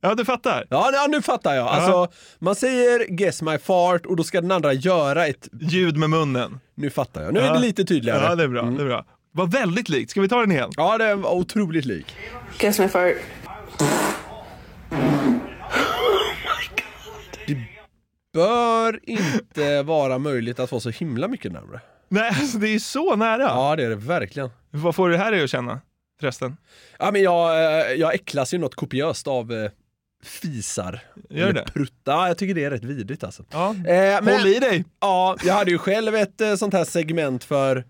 Ja, du fattar. Ja, ja, nu fattar jag. Alltså, man säger “guess my fart” och då ska den andra göra ett... Ljud med munnen. Nu fattar jag. Nu är Ja. det Mm. lite tydligare. Ja, det är bra. Det är bra. Var väldigt likt. Ska vi ta den igen? Ja, det var otroligt lik. Guess my fart. Bör inte (laughs) vara möjligt att vara så himla mycket närmare. Nej, alltså det är så nära. Ja, det är det verkligen. Vad får du det här dig att känna förresten? Ja, men jag, eh, jag äcklas ju något kopiöst av eh, fisar. Gör Eller det? Prutta. Ja, jag tycker det är rätt vidrigt alltså. Ja. Eh, Håll i dig! Ja, jag hade ju själv ett eh, sånt här segment för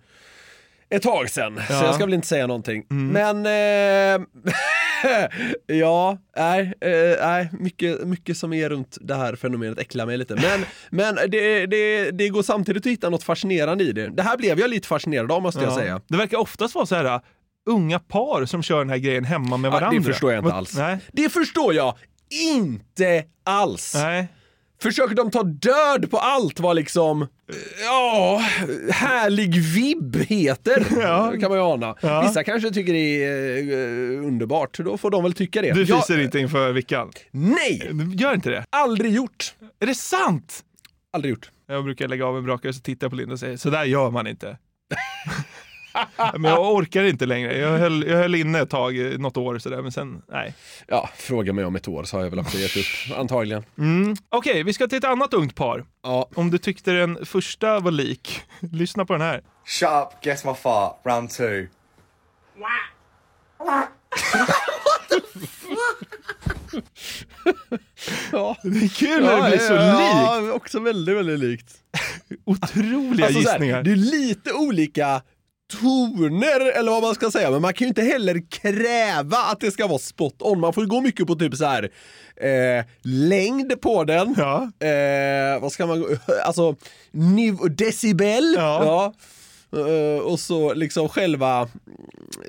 ett tag sedan, Ja. Mm. så jag ska väl inte säga någonting. Men eh, (laughs) ja, nej, eh, nej mycket, mycket som är runt det här fenomenet äcklar mig lite. (laughs) Men, men det, det, det går samtidigt att hitta något fascinerande i det. Det här blev jag lite fascinerad av måste jag Ja. säga. Det verkar oftast vara så här uh, unga par som kör den här grejen hemma med Ja, varandra. det förstår jag inte Men- alls. Nej. Det förstår jag inte alls. Nej. Försöker de ta död på allt vad liksom, ja, härlig vibb (laughs) heter. kan man ju ana. Ja. Vissa kanske tycker det är eh, underbart, då får de väl tycka det. Du Jag- fiser inte inför vickan? Nej! Gör inte det? Aldrig gjort. Är det sant? Aldrig gjort. Jag brukar lägga av en brakare och så tittar jag på Linda och säger så där gör (laughs) man inte. men jag orkar inte längre. Jag höll, jag höll inne ett tag, eh, något år sådär, men sen, nej. Ja, fråga mig om ett år så har jag väl också gett upp, antagligen. Mm. Okej, vi ska till ett annat ungt par. Om du tyckte den första var lik, (laughs) lyssna på den här. Shut up, guess my fart, round two. Ja. Det är kul när det blir så likt. Ja, också väldigt, väldigt likt. Otroliga Alltså så här, gissningar. det är lite olika toner eller vad man ska säga, men man kan ju inte heller kräva att det ska vara spot on. Man får ju gå mycket på typ så här eh, längd på den. Eh, vad ska man gå- (laughs) alltså niv- decibel. Ja. Eh, och så liksom själva mm,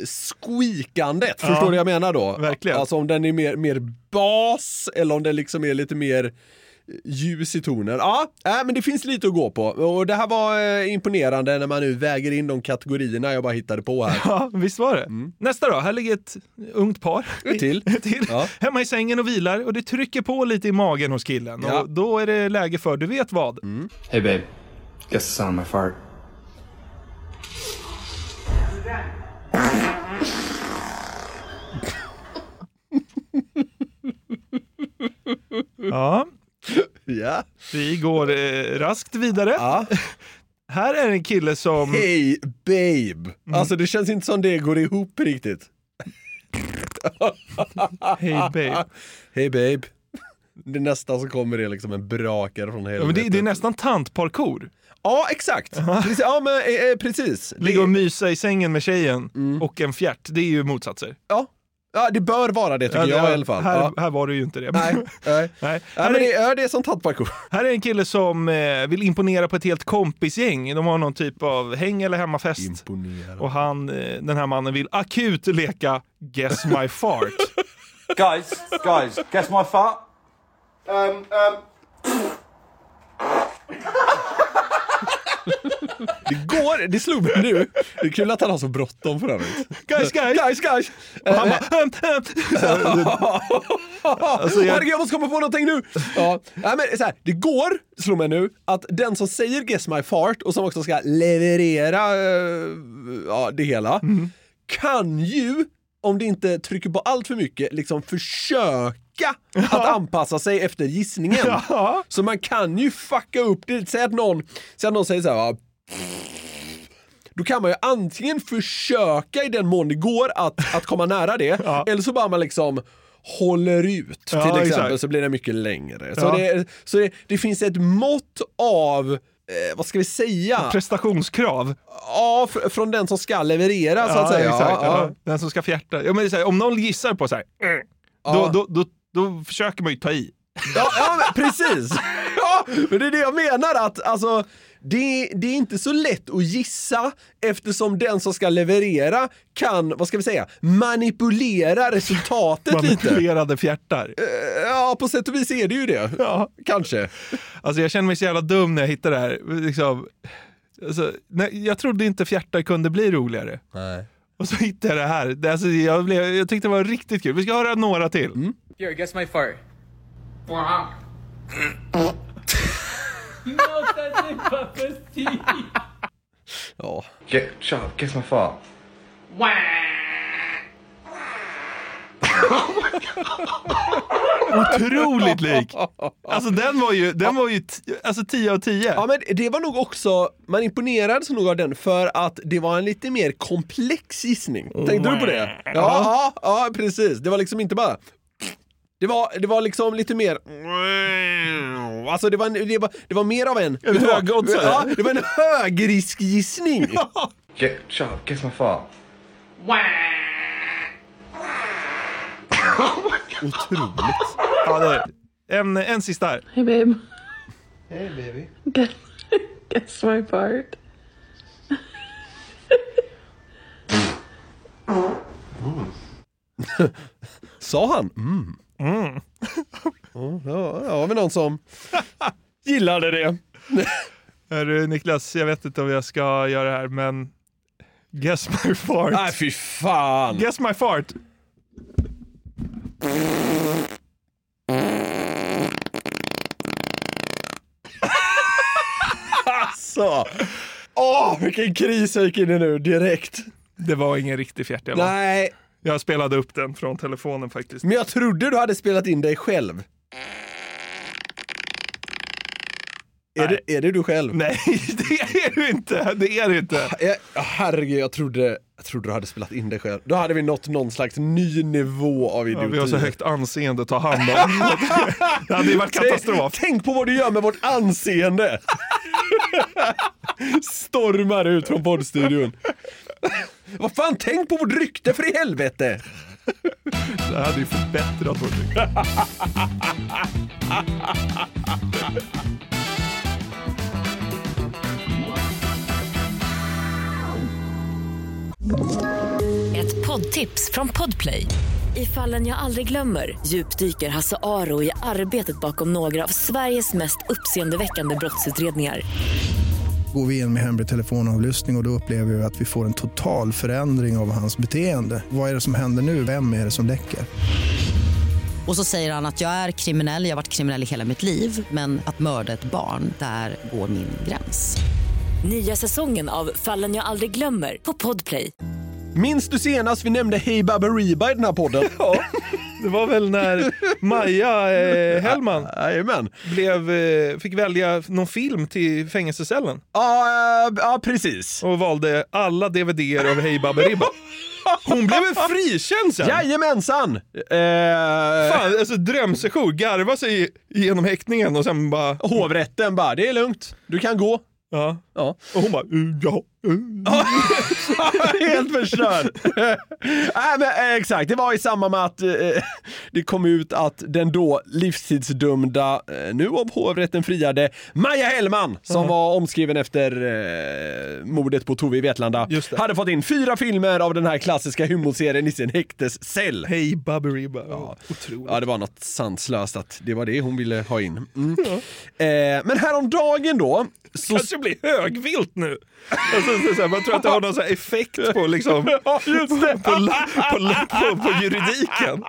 squeakandet, Ja. förstår du vad jag menar då? Verkligen. Alltså om den är mer, mer bas eller om den liksom är lite mer ljus i tonen. Ja, äh, men det finns lite att gå på. Och det här var eh, imponerande när man nu väger in de kategorierna jag bara hittade på (laughs) här. Ja, visst var det. Nästa då, här ligger ett ungt par. Ett till. (laughs) till. Hemma i sängen och vilar och det trycker på lite i magen hos killen. Och då är det läge för du vet vad. Hey, babe. Guess the sound of my fart. Ja. Vi går eh, raskt vidare. Här är en kille som... Hey babe! Mm. Alltså det känns inte som det går ihop riktigt. Hey Ah, babe. Hey babe. Det nästa som kommer är liksom en brakare från helvetet. Ja, men det, det är nästan tantparkour. Ja, exakt. Precis, ja, men, eh, eh, precis. Ligga och mysa i sängen med tjejen Mm. och en fjärt, det är ju motsatser. Ja. Ja, det bör vara det tycker Ja, jag ja, i alla fall. Här, Ja. här var det ju inte (laughs) det. Nej, nej. (laughs) Nej. Ja, men det är, det är som tattparkour. Här är en kille som eh, vill imponera på ett helt kompisgäng. De har någon typ av häng eller hemmafest. Och han, eh, den här mannen vill akut leka Guess My Fart. guys, guys, guess my fart. Um, um. Det går, det slog mig nu. Det är kul att han har så bråttom för övrigt. Guys, guys! (laughs) Guys, guys! Eh, Och han bara... Alltså, jag... Herregud, jag måste komma på någonting nu! Ja. Nej, men, så här, det går, slår mig nu, att den som säger Guess My Fart och som också ska leverera eh, ja, det hela, kan ju, om det inte trycker på allt för mycket, liksom försöka att anpassa sig efter gissningen. Ja. Så man kan ju fucka upp det. Säg att någon, säg att någon säger så här, va, då kan man ju antingen försöka i den mån det går att, att komma nära (laughs) det, eller så bara man liksom håller ut till Ja, exempel exakt. så blir det mycket längre. Så, Ja. det, så det, det finns ett mått av, eh, vad ska vi säga? Prestationskrav. Ja, fr- från den som ska leverera så att säga. Exakt, ja, ja. ja. Den som ska fjärta. Ja, men det är så här, om någon gissar på så här, eh, Ja. då, då, då, då försöker man ju ta i. Ja, ja men precis! (laughs) Ja, men det är det jag menar att alltså, det, det är inte så lätt att gissa eftersom den som ska leverera kan, vad ska vi säga, manipulera resultatet lite. Manipulerade fjärtar. Ja, på sätt och vis är det ju det. Ja. Kanske. Alltså jag känner mig så jävla dum när jag hittar det här. Liksom, alltså, nej, jag trodde inte fjärtar kunde bli roligare. Nej. Och så hittade jag det här. Det, alltså, jag, blev, jag tyckte det var riktigt kul. Vi ska höra några till. Here, guess my fart. Ja. Ge- shut up, guess my fart. Otroligt lik! Alltså den var ju, den var ju t- alltså 10 av 10. Ja, men det var nog också, man imponerades nog av den för att det var en lite mer komplex gissning. Tänkte du på det? Mm. Ja, ja, ja precis. Det var liksom inte bara... Det var, det var liksom lite mer... Alltså det var, en, det var, det var mer av en... En högoddsare. Ja, det var en högriskgissning. Ge- shut up, guess my fart. Otroligt. Ja, det är. En, en sista här. Hey, babe. Hey, baby. Guess, guess my part. Sa han? Mm. Mm. Ja, ja, ja, har vi någon som (laughs) gillade det. Hörru Niklas, jag vet inte om jag ska göra det här, men guess my fart. Nej, fy fan. Guess my fart. Alltså! Åh, vilken kris jag gick in i nu direkt. Det var ingen riktig fjärt jag var. Nej, Jag spelade upp den från telefonen faktiskt. men jag trodde du hade spelat in dig själv. Är Nej. det, är det du själv? Nej, (laughs) det är du inte. Det är du inte. Jag, ja, herregud, jag trodde, jag trodde du hade spelat in dig själv. Då hade vi nått någon slags ny nivå av Ja, idioti. vi har så högt anseende att ta hand om. (laughs) Det hade ju varit katastrof. Tänk, tänk på vad du gör med vårt anseende! Stormar ut från poddstudion. vad fan, tänk på vårt rykte för i helvete! Det hade ju förbättrat vårt liv. Ett poddtips från Podplay. I fallen jag aldrig glömmer djupdyker Hasse Aro i arbetet bakom några av Sveriges mest uppseendeväckande brottsutredningar. Går vi in med hemlig telefonavlyssning och, och då upplever vi att vi får en total förändring av hans beteende. Vad är det som händer nu? Vem är det som läcker? Och så säger han att jag är kriminell, jag har varit kriminell i hela mitt liv men att mörda ett barn, där går min gräns. Nya säsongen av Fallen jag aldrig glömmer på Podplay. (laughs) Minns du senast vi nämnde Hey Baberiba i den här podden? Ja, det var väl när Maja eh, Hellman blev, eh, fick välja någon film till fängelsecellen. Ja, ah, precis. Och valde alla DVDer av Hey Baberiba. Hon blev en frikänd sen! Jajamensan! Eh, Fan, alltså drömsession. Garva sig genom häktningen och sen bara... Hovrätten bara, det är lugnt. Du kan gå. Ja. ja. Och hon bara, "Mm, ja. mm." (laughs) Helt (laughs) förstörd! Nej men eh, exakt, det var i samband med att eh, det kom ut att den då livstidsdömda, eh, nu av hovrätten friade, Maja Hellman, som Mhm. var omskriven efter eh, mordet på Tove i Vetlanda, hade fått in fyra filmer av den här klassiska humorserien i sin häktescell. Hej Baberiba. Ja. Ja, det var något sanslöst att det var det hon ville ha in. Mm. Eh, men häromdagen då... Så... Kanske blir högvilt nu. Alltså, så, så här, man tror att det har någon så här effekt på (laughs) liksom... Ja, just det. På, på, på, på juridiken.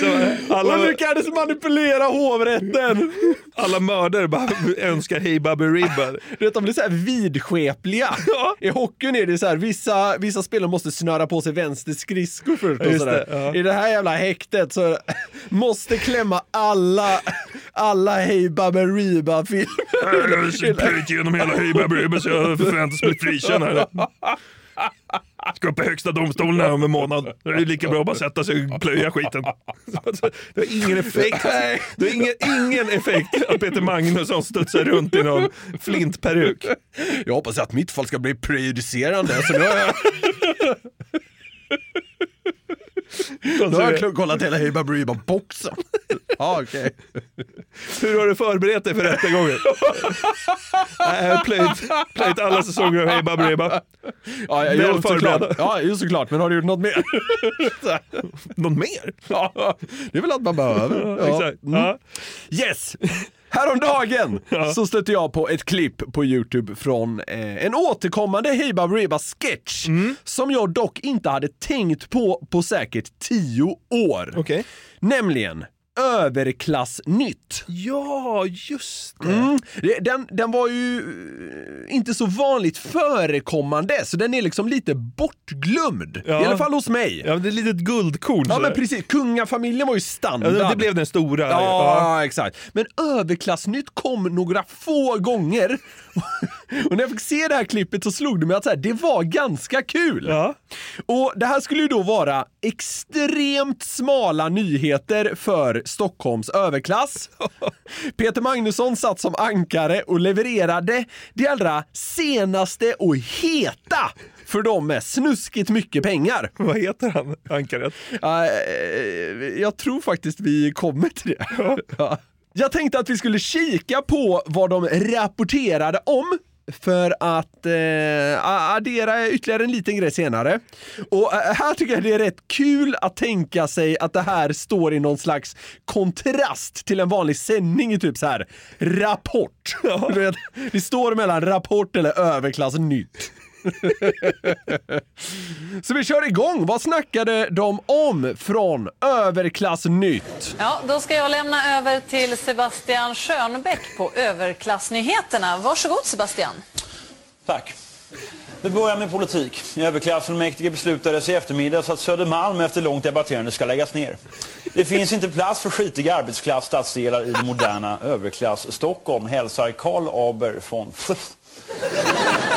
Så, alla, Och lyckades manipulera hovrätten! alla mördare bara önskar hej Baberiba. Du vet, de blir så här vidskepliga. I hockeyn är det så här, vissa, vissa spelare måste snöra på sig vänster skridsko först Ja, och så just där. det, ja. I det här jävla häktet så (laughs) måste klämma alla, alla Hej Jag Baberiba-filmer. plöjt igenom hela Hej Baberiba så jag förväntas bli frikänd här. Ska upp i högsta domstolen här om en månad. Det är lika bra att bara sätta sig och plöja skiten. Det har ingen effekt. Det har ingen, ingen effekt att Peter Magnusson studsar runt i någon flintperuk. Jag hoppas att mitt fall ska bli prejudicerande. Så nu har jag, nu (laughs) har jag kollat hela Hej Baberiba-boxen. Ja, okej. Hur har du förberett dig för rättegången? Nej, jag har plöjt, plöjt alla säsonger av Hej Baberiba. Ja, Väl jo, såklart. förberedd. Ja, jo, såklart. Men har du gjort något (laughs) mer? Någon mer? Ja, det är väl allt man behöver. Mm. Ja, exakt. Mm. Ja. Yes! (laughs) Häromdagen så stötte jag på ett klipp på Youtube från eh, en återkommande Hey Baberiba sketch Mm. som jag dock inte hade tänkt på på säkert tio år. Nämligen Överklassnytt. Ja, just det. Mm. Det- Den, den var ju eh, inte så vanligt förekommande, så den är liksom lite bortglömd. I alla fall hos mig. Ja, det är ett litet guldkorn. Ja så men där. precis, kungafamiljen var ju standard. Ja, det blev den stora. Ja, exakt. Men överklassnytt kom några få gånger. (laughs) Och när jag fick se det här klippet så slog det mig att så här, det var ganska kul. Och det här skulle ju då vara extremt smala nyheter för Stockholms (laughs) överklass. Peter Magnusson satt som ankare och levererade det allra senaste och heta för dem med snuskigt mycket pengar. eh, Vad heter han, ankaret? jag tror faktiskt vi kommer till det. Ja. Jag tänkte att vi skulle kika på vad de rapporterade om för att eh, a- addera ytterligare en liten grej senare. Och eh, här tycker jag det är rätt kul att tänka sig att det här står i någon slags kontrast till en vanlig sändning i typ så här Rapport. Du vet, det står mellan Rapport eller Överklassnytt. (laughs) Så vi kör igång. Vad snackade de om från Överklassnytt? Ja, då ska jag lämna över till Sebastian Schönbeck på Överklassnyheterna. Varsågod Sebastian. Tack. Vi börjar med politik. Överklassfullmäktige beslutade sig i eftermiddags att Södermalm efter långt debatterande ska läggas ner. Det finns inte plats för skitiga arbetsklass stadsdelar i det moderna överklass Stockholm, hälsar Karl Aber från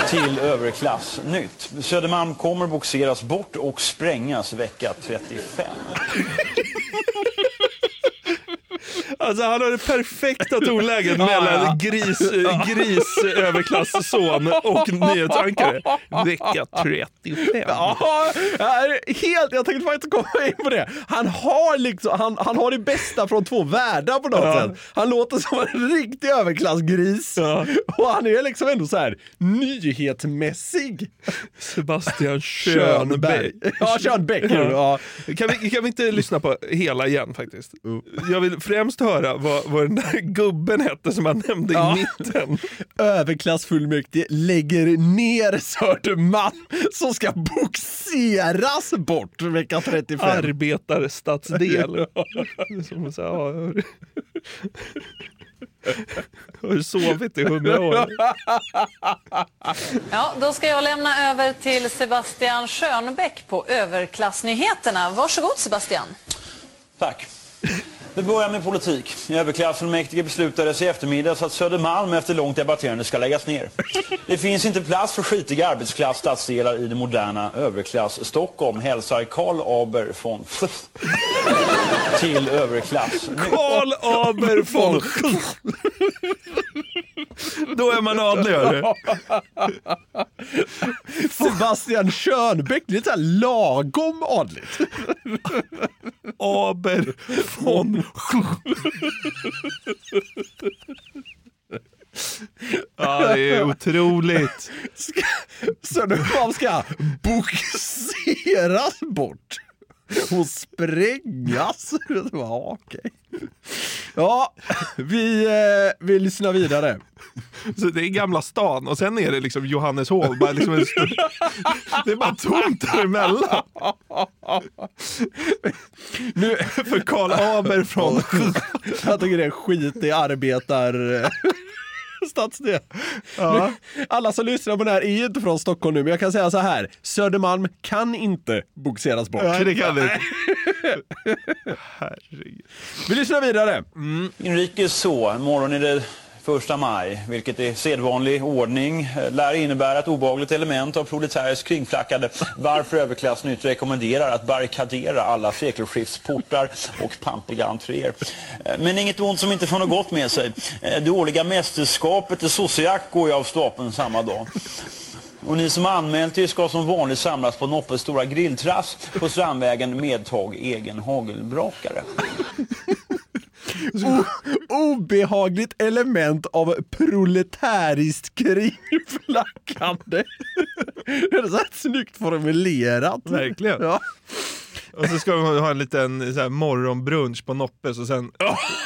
till överklass nytt. Södermalm kommer boxeras bort och sprängas vecka 35. Alltså han har det perfekta tonläget Ja, ja. mellan (laughs) gris, eh, gris överklassson och nyhetsankare. Vecka 35. Ja, jag är helt, jag tänkte faktiskt komma in på det. Han har, liksom, han, han har det bästa från två världar på något Ja. sätt. Han låter som en riktig överklassgris. Och han är liksom ändå så här nyhetsmässig. Sebastian Schönberg. Ja, Schönbäck. Ja. Kan, vi, kan vi inte lyssna på hela igen faktiskt? Jag vill främst höra vad, vad den där gubben hette som han nämnde i (laughs) mitten. Överklassfullmäktige lägger ner Södermalm som ska boxeras bort vecka 35. Arbetarstadsdel. (laughs) Som så här, ja, hör- Har du sovit i hundra år? Ja, då ska jag lämna över till Sebastian Schönbäck på överklassnyheterna. Varsågod Sebastian. Tack. Vi börjar med politik. Överklassfullmäktige beslutades i eftermiddags att Södermalm efter långt debatterande ska läggas ner. Det finns inte plats för skitiga arbetsklass stadsdelar i det moderna överklass-Stockholm, hälsar Karl Aber von till överklass. Karl Aber von Då är man adlig, hörru. Sebastian Schönbäck, det är lite så här lagom adligt. Aber von Ja, det är otroligt. Ska- Södermalm ska boxeras bort och sprängas. Ja, okej. Ja, vi, eh, vi lyssnar vidare. Så det är Gamla stan och sen är det liksom Johanneshov. Bara liksom en stor... (laughs) Det är bara tomt däremellan. Nu, för Karl Aber (laughs) från... Jag tycker det är skit i arbetar... Stadsdel. Ja. Nu, Alla som lyssnar på det här är ju inte från Stockholm nu, men jag kan säga så här. Södermalm kan inte boxeras bort. Nej, det kan det inte. Vi lyssnar vidare. Inrikes så, morgon är det första maj, vilket i sedvanlig ordning eh, lär innebära ett obagligt element av proletäriskt kringflackande, varför överklassen inte rekommenderar att barrikadera alla sekelskiftsportar och pampiga entréer. Eh, Men inget ont som inte får något gott med sig. Eh, Det årliga mästerskapet i sossejack går ju av stapeln samma dag. Och ni som har anmält er ska som vanligt samlas på Noppes stora grilltrass på Strandvägen medtag egen hagelbrakare. O- obehagligt element av proletäriskt kringflackande. Det är så här snyggt formulerat. Verkligen. Ja. Och så ska de ha en liten så här, morgonbrunch på Noppes och sen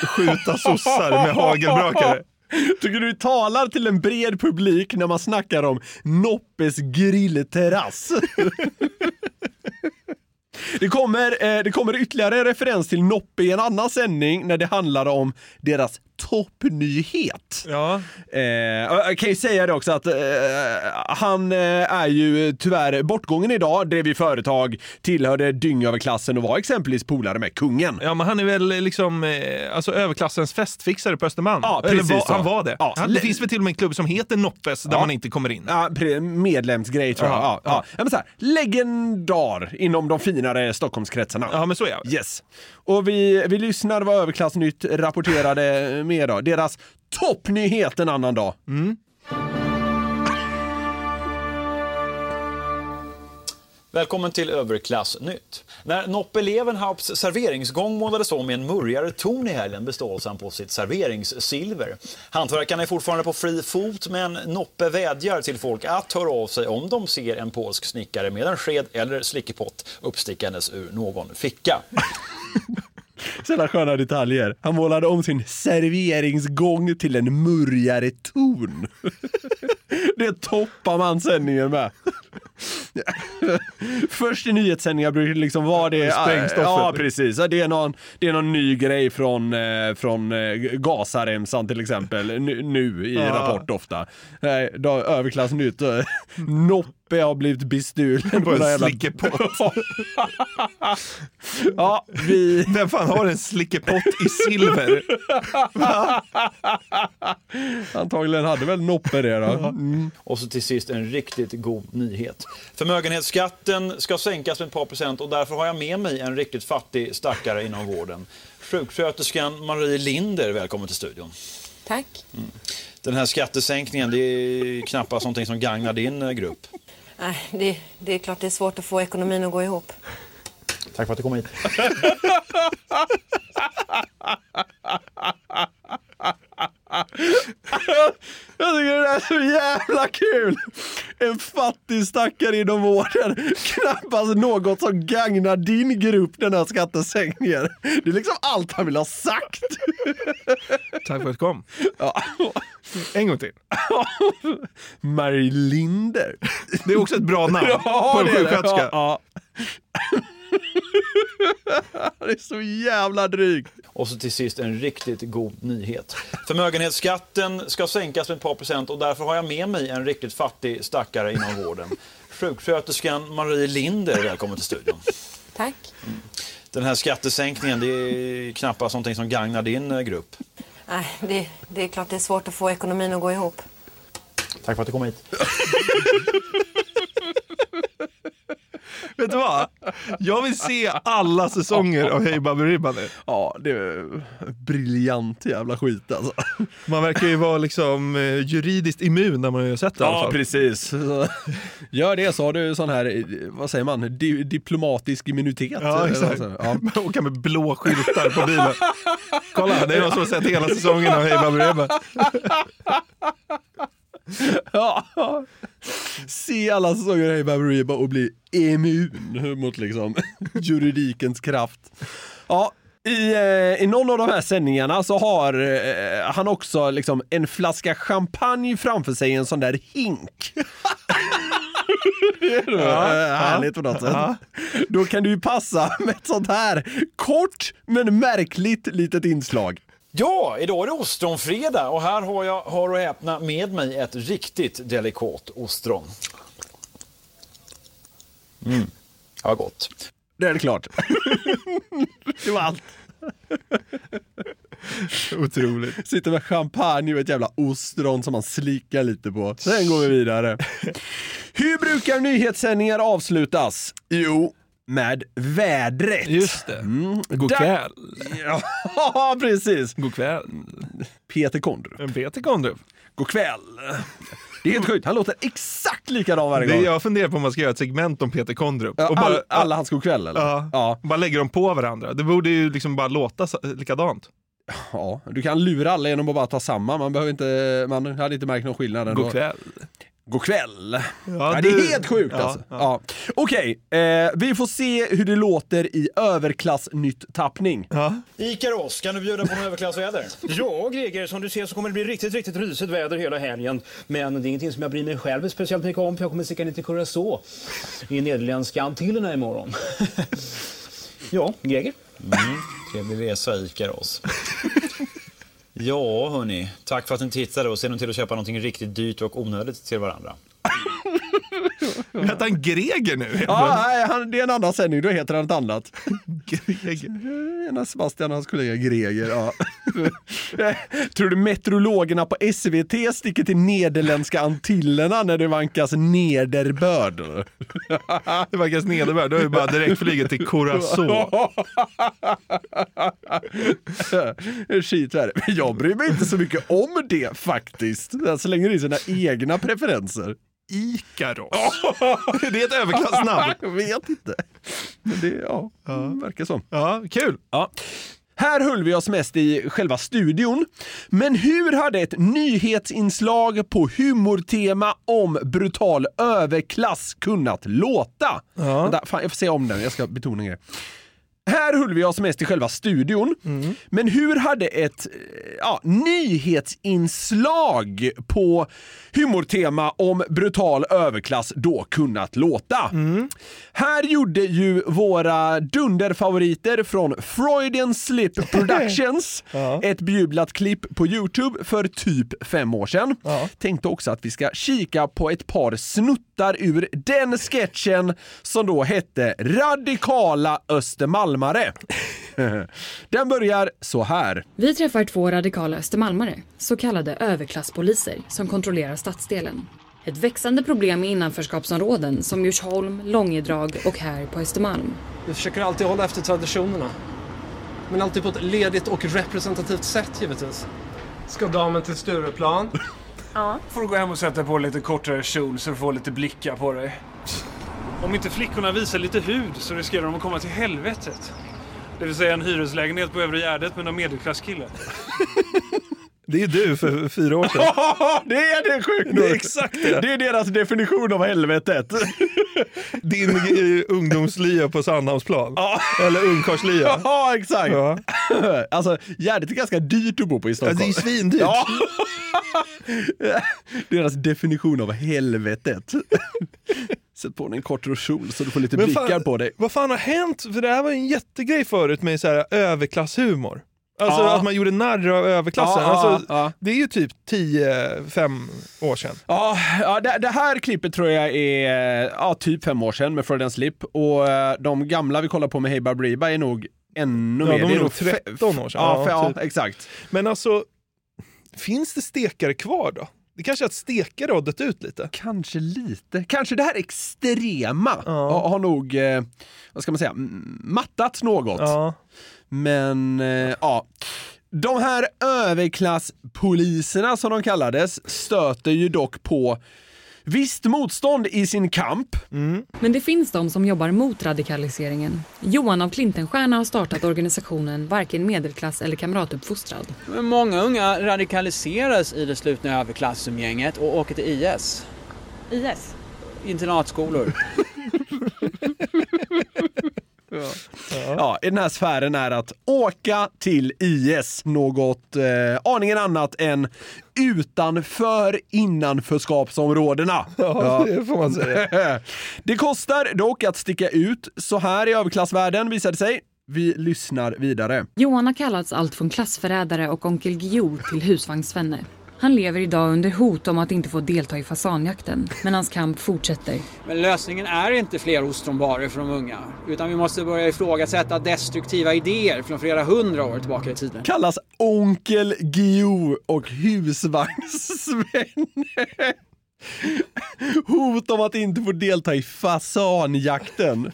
skjuta sossar med hagelbrakare. Tycker du talar till en bred publik när man snackar om Noppes grillterrass? Det kommer, eh, det kommer ytterligare en referens till Noppe i en annan sändning när det handlar om deras toppnyhet. Ja. Eh, och jag kan ju säga det också att eh, han eh, är ju tyvärr bortgången idag, drev ju företag, tillhörde dyngöverklassen och var exempelvis polare med kungen. Ja, men han är väl liksom eh, alltså, överklassens festfixare på Östermalm. Ja, Eller precis var, så. han var det. Ja. Han, det finns väl till och med en klubb som heter Noppes där Ja. man inte kommer in. Ja, pre- medlemsgrej tror jag. Ja, Ja, ja. Ja. men så här, legendar inom de finare Stockholmskretsarna. Ja, men så är det. Yes. Och vi, vi lyssnar vad Överklassnytt rapporterade med idag. Deras toppnyhet en annan dag. Välkommen till Överklassnytt. När Noppe Levenhaups serveringsgång målades om i en murrigare ton i helgen bestals han på sitt serveringssilver. Hantverkarna är fortfarande på fri fot, men Noppe vädjar till folk att höra av sig om de ser en polsk snickare med en sked eller slickepott uppstickandes ur någon ficka. Sådana sköna detaljer. Han målade om sin serveringsgång till en murrigare ton. (laughs) Det toppar man sändningen med. (laughs) Först i nyhetssändningar brukar det liksom vara det. Sprängstoffet. Ja, precis. Ja, Det är någon, det är någon ny grej från, eh, från eh, Gazaremsan till exempel. Nu, nu i Ja. Rapport ofta. Eh, då- Överklassnytt. eh, Nopp Hoppe har blivit bestulen På en någon jävla- slickepott. (laughs) ja, vi... Vem fan har en slickepott i (laughs) silver? Va? Antagligen hade väl Noppe (laughs) det då. Och så till sist en riktigt god nyhet. Förmögenhetsskatten ska sänkas med ett par procent och därför har jag med mig en riktigt fattig stackare inom vården. Sjuksköterskan Marie Linder, välkommen till studion. Mm. Tack. Den här skattesänkningen, det är knappast någonting som gagnar din eh, grupp. Nej, det, det är klart det är svårt att få ekonomin att gå ihop. Tack för att du kom hit. Jag tycker det där är så jävla kul! En fattig stackare inom vården. Knappast något som gagnar din grupp, den här skattesänkningen. Det är liksom allt han vill ha sagt. (laughs) Tack för att du kom. Ja. En (laughs) gång till. Marie Linder. Det är också ett bra namn Ja, på en det är det. sjuksköterska. Ja, (laughs) Det är så jävla drygt. Och så till sist en riktigt god nyhet. Förmögenhetsskatten ska sänkas med ett par procent och därför har jag med mig en riktigt fattig stackare inom vården. Sjuksköterskan Marie Linder, välkommen till studion. Tack. Den här skattesänkningen, det är knappast någonting som gagnar din eh, grupp. Nej, det, det är klart det är svårt att få ekonomin att gå ihop. Tack för att du kom hit. Vet du vad? Jag vill se alla säsonger av Hej Baberiba nu. Ja, det är briljant jävla skit alltså. (laughs) Man verkar ju vara liksom eh, juridiskt immun när man har sett det i alla Ja, fall. precis. Så, Gör det så har du sån här, eh, vad säger man, di diplomatisk immunitet. Ja, exakt. Alltså, (laughs) ja. Åka med blå skyltar (laughs) på bilen. Kolla, det är någon som har sett hela säsongen av Hej Baberiba. Ja. Se alla säsonger av Hey Baberiba och bli immun mot liksom (laughs) juridikens kraft. Ja, i, eh, i någon av de här sändningarna så har eh, han också liksom en flaska champagne framför sig i en sån där hink. Det är då, eh, härligt på något sätt. Då kan det ju passa med ett sånt här kort men märkligt litet inslag. Ja, idag är det ostronfredag och här har jag, har och häpna, med mig ett riktigt delikat ostron. Mm, ja gott. Det är det klart. (laughs) det var allt. Otroligt. Sitter med champagne och ett jävla ostron som man slickar lite på. Sen går vi (laughs) vidare. Hur brukar nyhetssändningar avslutas? Jo, med vädret. Just det. Mm. God Da- kväll. (laughs) Ja, precis. God kväll. Peter Kondrup. En Peter Kondrup. God kväll. Det är helt sjukt, han låter exakt likadan varje Det gång. jag funderar på om man ska göra ett segment om Peter Kondrup. Ja, Och bara- all, alla hans godkväll eller? Ja. Bara lägger dem på varandra. Det borde ju liksom bara låta så- likadant. Ja, du kan lura alla genom att bara ta samma. Man, behöver inte, man hade inte märkt någon skillnad. ändå. God kväll. God kväll. Ja, Ja, det du- är helt sjukt Ja, alltså. ja. Ja. Okej, eh, vi får se hur det låter i överklassnytt-tappning. Ikaros, kan du bjuda på något överklassväder? ja, Greger, som du ser så kommer det bli riktigt, riktigt risigt väder hela helgen. Men det är ingenting som jag bryr mig själv speciellt mycket om, för jag kommer sticka ner till Curacao i Nederländska Antillerna imorgon. (laughs) ja, Greger? Mm, Trevlig resa Ikaros. ja, hörni. Tack för att ni tittade och se nu till att köpa någonting riktigt dyrt och onödigt till varandra. Hette han Greger nu? Ja, nej, han, det är en annan sändning, då heter han ett annat. (laughs) (laughs) Greger. Ena Sebastian och hans kollega Greger. Ja. (laughs) Tror du meteorologerna på SVT sticker till Nederländska Antillerna när det vankas nederbörd? Det verkar snedvärd. Då är det bara direkt flyget till (laughs) Curacao. (laughs) Skitvärre. Men Jag bryr mig inte så mycket om det faktiskt. Så länge det är sina egna preferenser. Ikaros. det är ett (laughs) överklassnamn. (laughs) Jag vet inte. Men det, ja, mm, verkar så. Ja, kul. Ja. Här höll vi oss mest i själva studion. Men hur hade ett nyhetsinslag på humortema om brutal överklass kunnat låta? Vänta, fan, jag får se om den, jag ska betona en grej. Här höll vi oss mest i själva studion. Men hur hade ett eh, ja, nyhetsinslag på humortema om brutal överklass då kunnat låta? Här gjorde ju våra dunderfavoriter från Freudian Slip Productions ett bejublat klipp på Youtube för typ fem år sedan. Tänkte också att vi ska kika på ett par snuttar ur den sketchen som då hette Radikala Östermalmare. den börjar så här. Vi träffar två radikala östermalmare, så kallade överklasspoliser, som kontrollerar stadsdelen. Ett växande problem i innanförskapsområden som Djursholm, Långedrag och här på Östermalm. Vi försöker alltid hålla efter traditionerna. Men alltid på ett ledigt och representativt sätt givetvis. Ska damen till Stureplan? Ja. Får du gå hem och sätta på lite kortare kjol så du får lite blickar på dig. Om inte flickorna visar lite hud så riskerar de att komma till helvetet. Det vill säga en hyreslägenhet på Övre Gärdet med någon medelklasskille. Det är du för fyra år sedan. (laughs) Ja, det är det sjukt nog. Det är exakt det. Det är deras definition av helvetet. (laughs) Din eh, ungdomslya på Sandhamnsplan. Eller ungkarlslya. (laughs) Ja, exakt. Ja. Alltså, Gärdet är ganska dyrt att bo på i Stockholm. det är ju svindyrt. Ja. (laughs) Deras definition av helvetet. (laughs) Sätt på dig en kort kjol så du får lite Men blickar fan- på dig. Vad fan har hänt? För det här var ju en jättegrej förut med så här överklasshumor. Alltså Ja. att man gjorde narr av överklassen. Ja, alltså, ja, ja. Det är ju typ 10-5 år sedan. Ja, ja det, det här klippet tror jag är eh, ja, typ fem år sedan med Freudian Slip och eh, de gamla vi kollar på med Hey Baberiba är nog ännu Ja, mer. de Det är nog fe- 13 år sedan. Ja, Ja, fe- ja, typ. exakt. Men alltså, finns det stekare kvar då? Det kanske är att stekare har dött ut lite? Kanske lite. Kanske det här extrema har, har nog, eh, vad ska man säga, m- mattat något. Men, eh, ja. De här överklasspoliserna som de kallades stöter ju dock på visst motstånd i sin kamp. Men det finns de som jobbar mot radikaliseringen. Johan av Klintenstierna har startat organisationen Varken medelklass eller kamratuppfostrad. Många unga radikaliseras i det slutna överklassumgänget och åker till IS. IS? Internatskolor. Ja, i den här sfären är att åka till IS något eh, aningen annat än utanför innanförskapsområdena. (laughs) Ja, det får man säga. (laughs) Det kostar dock att sticka ut så här i överklassvärlden visade sig. Vi lyssnar vidare. Johan har kallats allt från klassförrädare och onkel Guillou till husvagnssvenne. Han lever idag under hot om att inte få delta i fasanjakten, men hans kamp fortsätter. Men lösningen är inte fler ostronbarer för de unga. Utan vi måste börja ifrågasätta destruktiva idéer från flera hundra år tillbaka i tiden. Kallas Onkel Guillou och husvagnssvenne. Hot om att inte få delta i fasanjakten.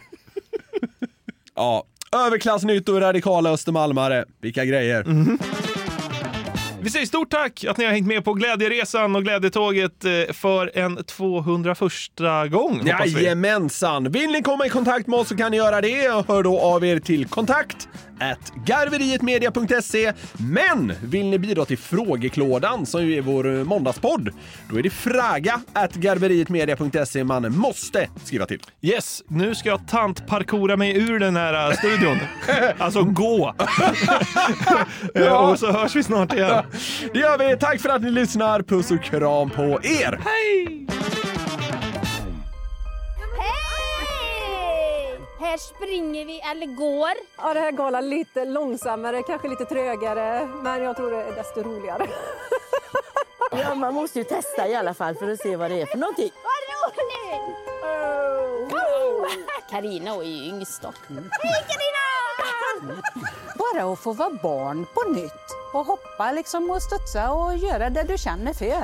Ja, överklassnytt och radikala östermalmare. Vilka grejer. Vi säger stort tack att ni har hängt med på Glädjeresan och Glädjetåget eh, för en 201 gång. hoppas vi. Jajamensan! Vill ni komma i kontakt med oss så kan ni göra det. Hör då av er till kontakt at garverietmedia.se. Men vill ni bidra till Frågeklådan som ju är vår eh, måndagspodd, då är det fraga at garverietmedia.se man måste skriva till. Yes, nu ska jag tantparkoura mig ur den här eh, studion. alltså gå! Eh, Och så hörs vi snart igen. (laughs) Det gör vi. Tack för att ni lyssnar. Puss och kram på er! Hej! Här springer vi eller går. Ja, det här galar lite långsammare, kanske lite trögare, men jag tror det är desto roligare. Ja, man måste ju testa i alla fall för att se vad det är för någonting. Oh. Vad roligt! Carina är ju yngst dock. Hej Carina! Bara att få vara barn på nytt och hoppa liksom och studsa och göra det du känner för.